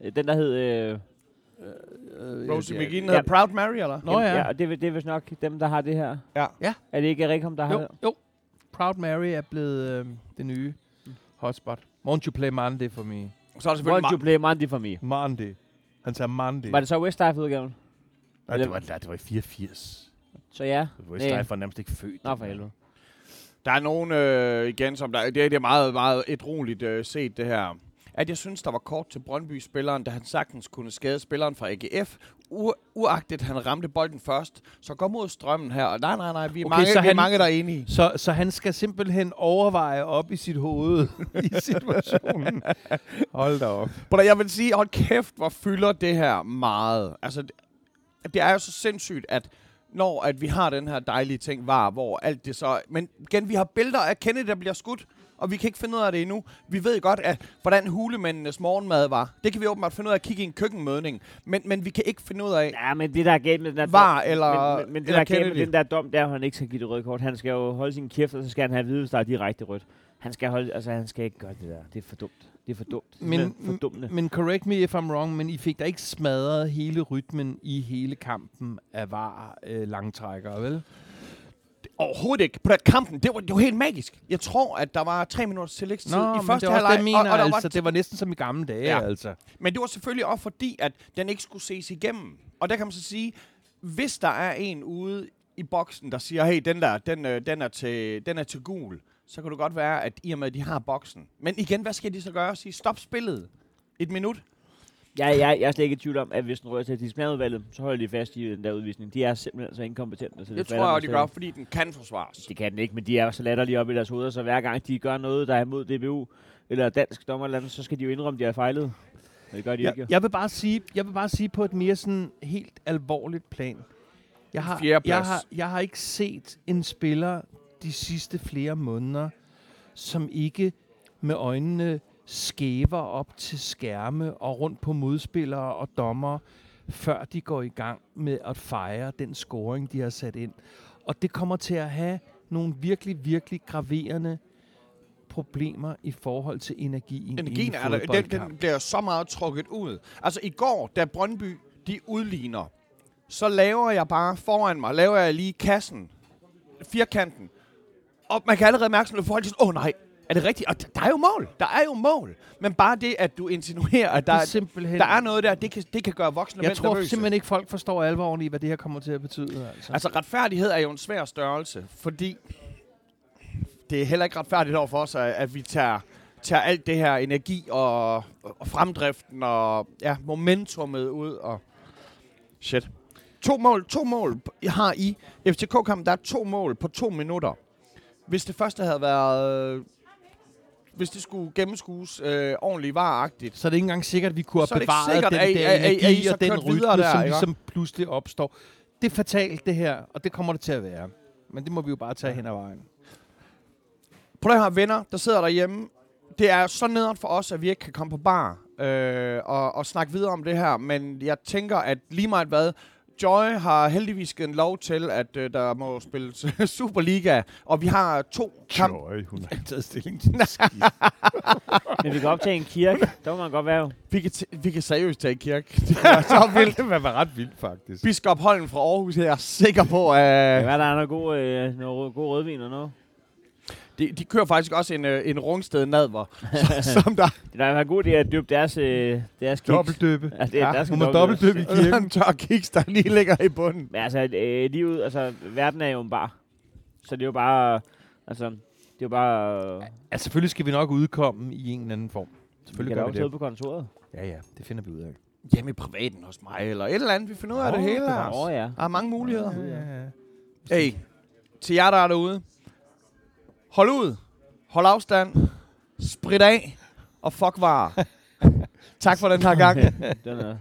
Speaker 3: Øh, Den der hed... Øh,
Speaker 4: Øh,
Speaker 2: Rosie
Speaker 4: ja,
Speaker 2: McGinn
Speaker 3: Ja.
Speaker 2: hedder Proud Mary, eller?
Speaker 4: Nå ja.
Speaker 3: ja og det, er- det er vist nok dem, der har det her.
Speaker 2: Ja.
Speaker 4: Ja.
Speaker 3: Er det ikke Rikom, der har
Speaker 4: Jo,
Speaker 3: det?
Speaker 4: jo. Proud Mary er blevet øh, det nye hotspot. Won't you play Monday for me?
Speaker 2: Så er der
Speaker 3: Won't you
Speaker 2: selvfølgelig
Speaker 3: play Monday for me?
Speaker 4: Monday. Han sagde Monday.
Speaker 3: Var det så Westlife-udgaven?
Speaker 4: Nej, det var, nej, det var i 84.
Speaker 3: Så ja.
Speaker 4: Westlife var nærmest ikke født.
Speaker 3: Nå, for helvede.
Speaker 2: Der er nogen øh, igen, som der, det er det er meget, meget edroligt øh, set, det her. At jeg synes, der var kort til Brøndby-spilleren, da han sagtens kunne skade spilleren fra AGF. U- uagtet, han ramte bolden først. Så gå mod strømmen her. Og nej, nej, nej, vi er,
Speaker 4: Okay,
Speaker 2: okay, mange,
Speaker 4: så
Speaker 2: vi er
Speaker 4: han-
Speaker 2: mange, der er enige.
Speaker 4: Så, så han skal simpelthen overveje op i sit hoved [LAUGHS] i situationen. [LAUGHS] Hold da op.
Speaker 2: But jeg vil sige, hold kæft, hvor fylder det her meget. Altså, det, det er jo så sindssygt, at når at vi har den her dejlige ting var, hvor alt det så... Men igen, vi har billeder af Kennedy, der bliver skudt, og vi kan ikke finde ud af det endnu. Vi ved godt, at, hvordan hulemændenes morgenmad var. Det kan vi åbenbart finde ud af at kigge i en køkkenmødning. Men, men vi kan ikke finde ud af,
Speaker 3: Ja, men det der er galt med den der dom-
Speaker 2: Var eller-
Speaker 3: men, men, men det
Speaker 2: eller
Speaker 3: der er galt med
Speaker 2: Kennedy?
Speaker 3: den der dom, der han ikke skal give det røde kort. Han skal jo holde sin kæft, og så skal han have at vide, hvis der er direkte rødt. Han skal, holde, altså, han skal ikke gøre det der. Det er for dumt. Det er for dumt. Det er
Speaker 4: Men-
Speaker 3: simpelthen for dumt.
Speaker 4: Men correct me if I'm wrong, men I fik da ikke smadret hele rytmen i hele kampen af var øh, langtrækkere, vel?
Speaker 2: Overhovedet ikke. På den kampen, det var, det var helt magisk. Jeg tror, at der var tre minutters tillægstid
Speaker 4: Nå,
Speaker 2: i
Speaker 4: men
Speaker 2: første
Speaker 4: det var også det,
Speaker 2: halvleg.
Speaker 4: jeg mener,
Speaker 2: der
Speaker 4: altså. Det var næsten som i gamle dage,
Speaker 2: Ja.
Speaker 4: ja. altså.
Speaker 2: Men det var selvfølgelig også fordi, at den ikke skulle ses igennem. Og der kan man så sige, hvis der er en ude i boksen, der siger, hey, den der, den, øh, den, er til, den er til gul, så kan det godt være, at i og med, at de har boksen. Men igen, hvad skal de så gøre? Sige, stop spillet. Et minut.
Speaker 3: Jeg, jeg, jeg er slet ikke i tvivl om, at hvis den rører til disciplinærudvalget, så holder de fast i den der udvisning. De er simpelthen så inkompetente. Så
Speaker 2: Det, tror jeg, de gør, fordi den kan forsvares.
Speaker 3: Det kan den ikke, men de er jo så latterlige op i deres hoveder, så hver gang de gør noget, der er imod DBU eller dansk dommer eller andet, så skal de jo indrømme, at de har fejlet. Men det gør de ja, ikke.
Speaker 4: Jeg,
Speaker 3: jo.
Speaker 4: jeg, vil bare sige, jeg vil bare sige på et mere sådan helt alvorligt plan. Jeg har, jeg,
Speaker 2: Fjerdeplads.
Speaker 4: har, jeg har ikke set en spiller de sidste flere måneder, som ikke med øjnene skæver op til skærme og rundt på modspillere og dommer, før de går i gang med at fejre den scoring, de har sat ind. Og det kommer til at have nogle virkelig, virkelig graverende problemer i forhold til energien.
Speaker 2: Energien
Speaker 4: i en
Speaker 2: er der, den,
Speaker 4: fodboldkamp.
Speaker 2: den bliver så meget trukket ud. Altså i går, da Brøndby, de udligner, så laver jeg bare foran mig, laver jeg lige kassen, firkanten, og man kan allerede mærke sådan, at folk er sådan, åh oh, nej, er det rigtigt? Og der, der er jo mål, der er jo mål. Men bare det, at du insinuerer, at der,
Speaker 4: Det er
Speaker 2: er,
Speaker 4: simpelthen...
Speaker 2: der er noget der, det kan, det kan gøre voksne
Speaker 4: Jeg
Speaker 2: mænd
Speaker 4: tror
Speaker 2: nervøse.
Speaker 4: simpelthen ikke, folk forstår alvoren i, hvad det her kommer til at betyde. Altså.
Speaker 2: Altså retfærdighed er jo en svær størrelse, fordi det er heller ikke retfærdigt over for os, at- at vi tager, tager alt det her energi og, og fremdriften og ja, momentummet ud. Og Shit. To mål, to mål p- har I. FCK-kampen, der er to mål på to minutter. Hvis det første havde været... Hvis det skulle gennemskues øh, ordentligt vareagtigt,
Speaker 4: så er det ikke engang sikkert, at vi kunne
Speaker 2: Så
Speaker 4: have
Speaker 2: er det ikke sikkert,
Speaker 4: bevaret den
Speaker 2: at I-
Speaker 4: der
Speaker 2: at I- at I
Speaker 4: energi
Speaker 2: så
Speaker 4: og den
Speaker 2: kørte
Speaker 4: rytme,
Speaker 2: videre der,
Speaker 4: som
Speaker 2: ikke?
Speaker 4: ligesom pludselig opstår. Det er fatalt, det her, og det kommer det til at være. Men det må vi jo bare tage hen ad vejen.
Speaker 2: Prøv at høre, venner, der sidder derhjemme. Det er så nederen for os, at vi ikke kan komme på bar øh, og, og snakke videre om det her. Men jeg tænker, at lige meget hvad, Joy har heldigvis givet en lov til, at øh, der må spilles [LAUGHS] Superliga. Og vi har to kampe.
Speaker 4: Joy, hun har ikke taget stilling til det skidt.
Speaker 3: Men vi kan optage en kirke. Der må man godt være jo.
Speaker 2: Vi kan, t- vi kan seriøst tage i kirke. [LAUGHS]
Speaker 4: så vildt. Det var ret vildt, faktisk.
Speaker 2: Biskop Holm fra Aarhus, jeg er sikker på, at...
Speaker 3: Ja, hvad der er noget god, øh, noget rød- god rødvin og noget.
Speaker 2: De, de kører faktisk også en, øh, en rungsted [LAUGHS] nadver, som der
Speaker 3: Det er en god idé at dyppe deres, øh, deres kiks.
Speaker 4: Dobbeltdøbe.
Speaker 3: Ja, det er, der
Speaker 4: Hun
Speaker 3: skal
Speaker 4: må dobbeltdøbe i
Speaker 2: er
Speaker 4: kirken.
Speaker 2: en [LAUGHS] tør kiks, der lige ligger i bunden.
Speaker 3: Men altså, øh, livet, altså, verden er jo en bar. Så det er jo bare, altså, det er jo bare, øh,
Speaker 4: Ja, selvfølgelig skal vi nok udkomme i en eller anden form.
Speaker 3: vi
Speaker 4: Selvfølgelig
Speaker 3: kan da
Speaker 4: gør vi
Speaker 3: også sidde
Speaker 4: det.
Speaker 3: på kontoret.
Speaker 4: Ja, ja, det finder vi ud af.
Speaker 2: Hjemme i privaten hos mig, eller et eller andet. Vi finder ud af det hele. Lars.
Speaker 3: Åh ja.
Speaker 2: Der er mange muligheder.
Speaker 4: Ja, ja.
Speaker 2: Hey, til jer, der er derude. Hold ud. Hold afstand. Sprit af. Og fuck varer. tak for den her gang.
Speaker 3: Den er,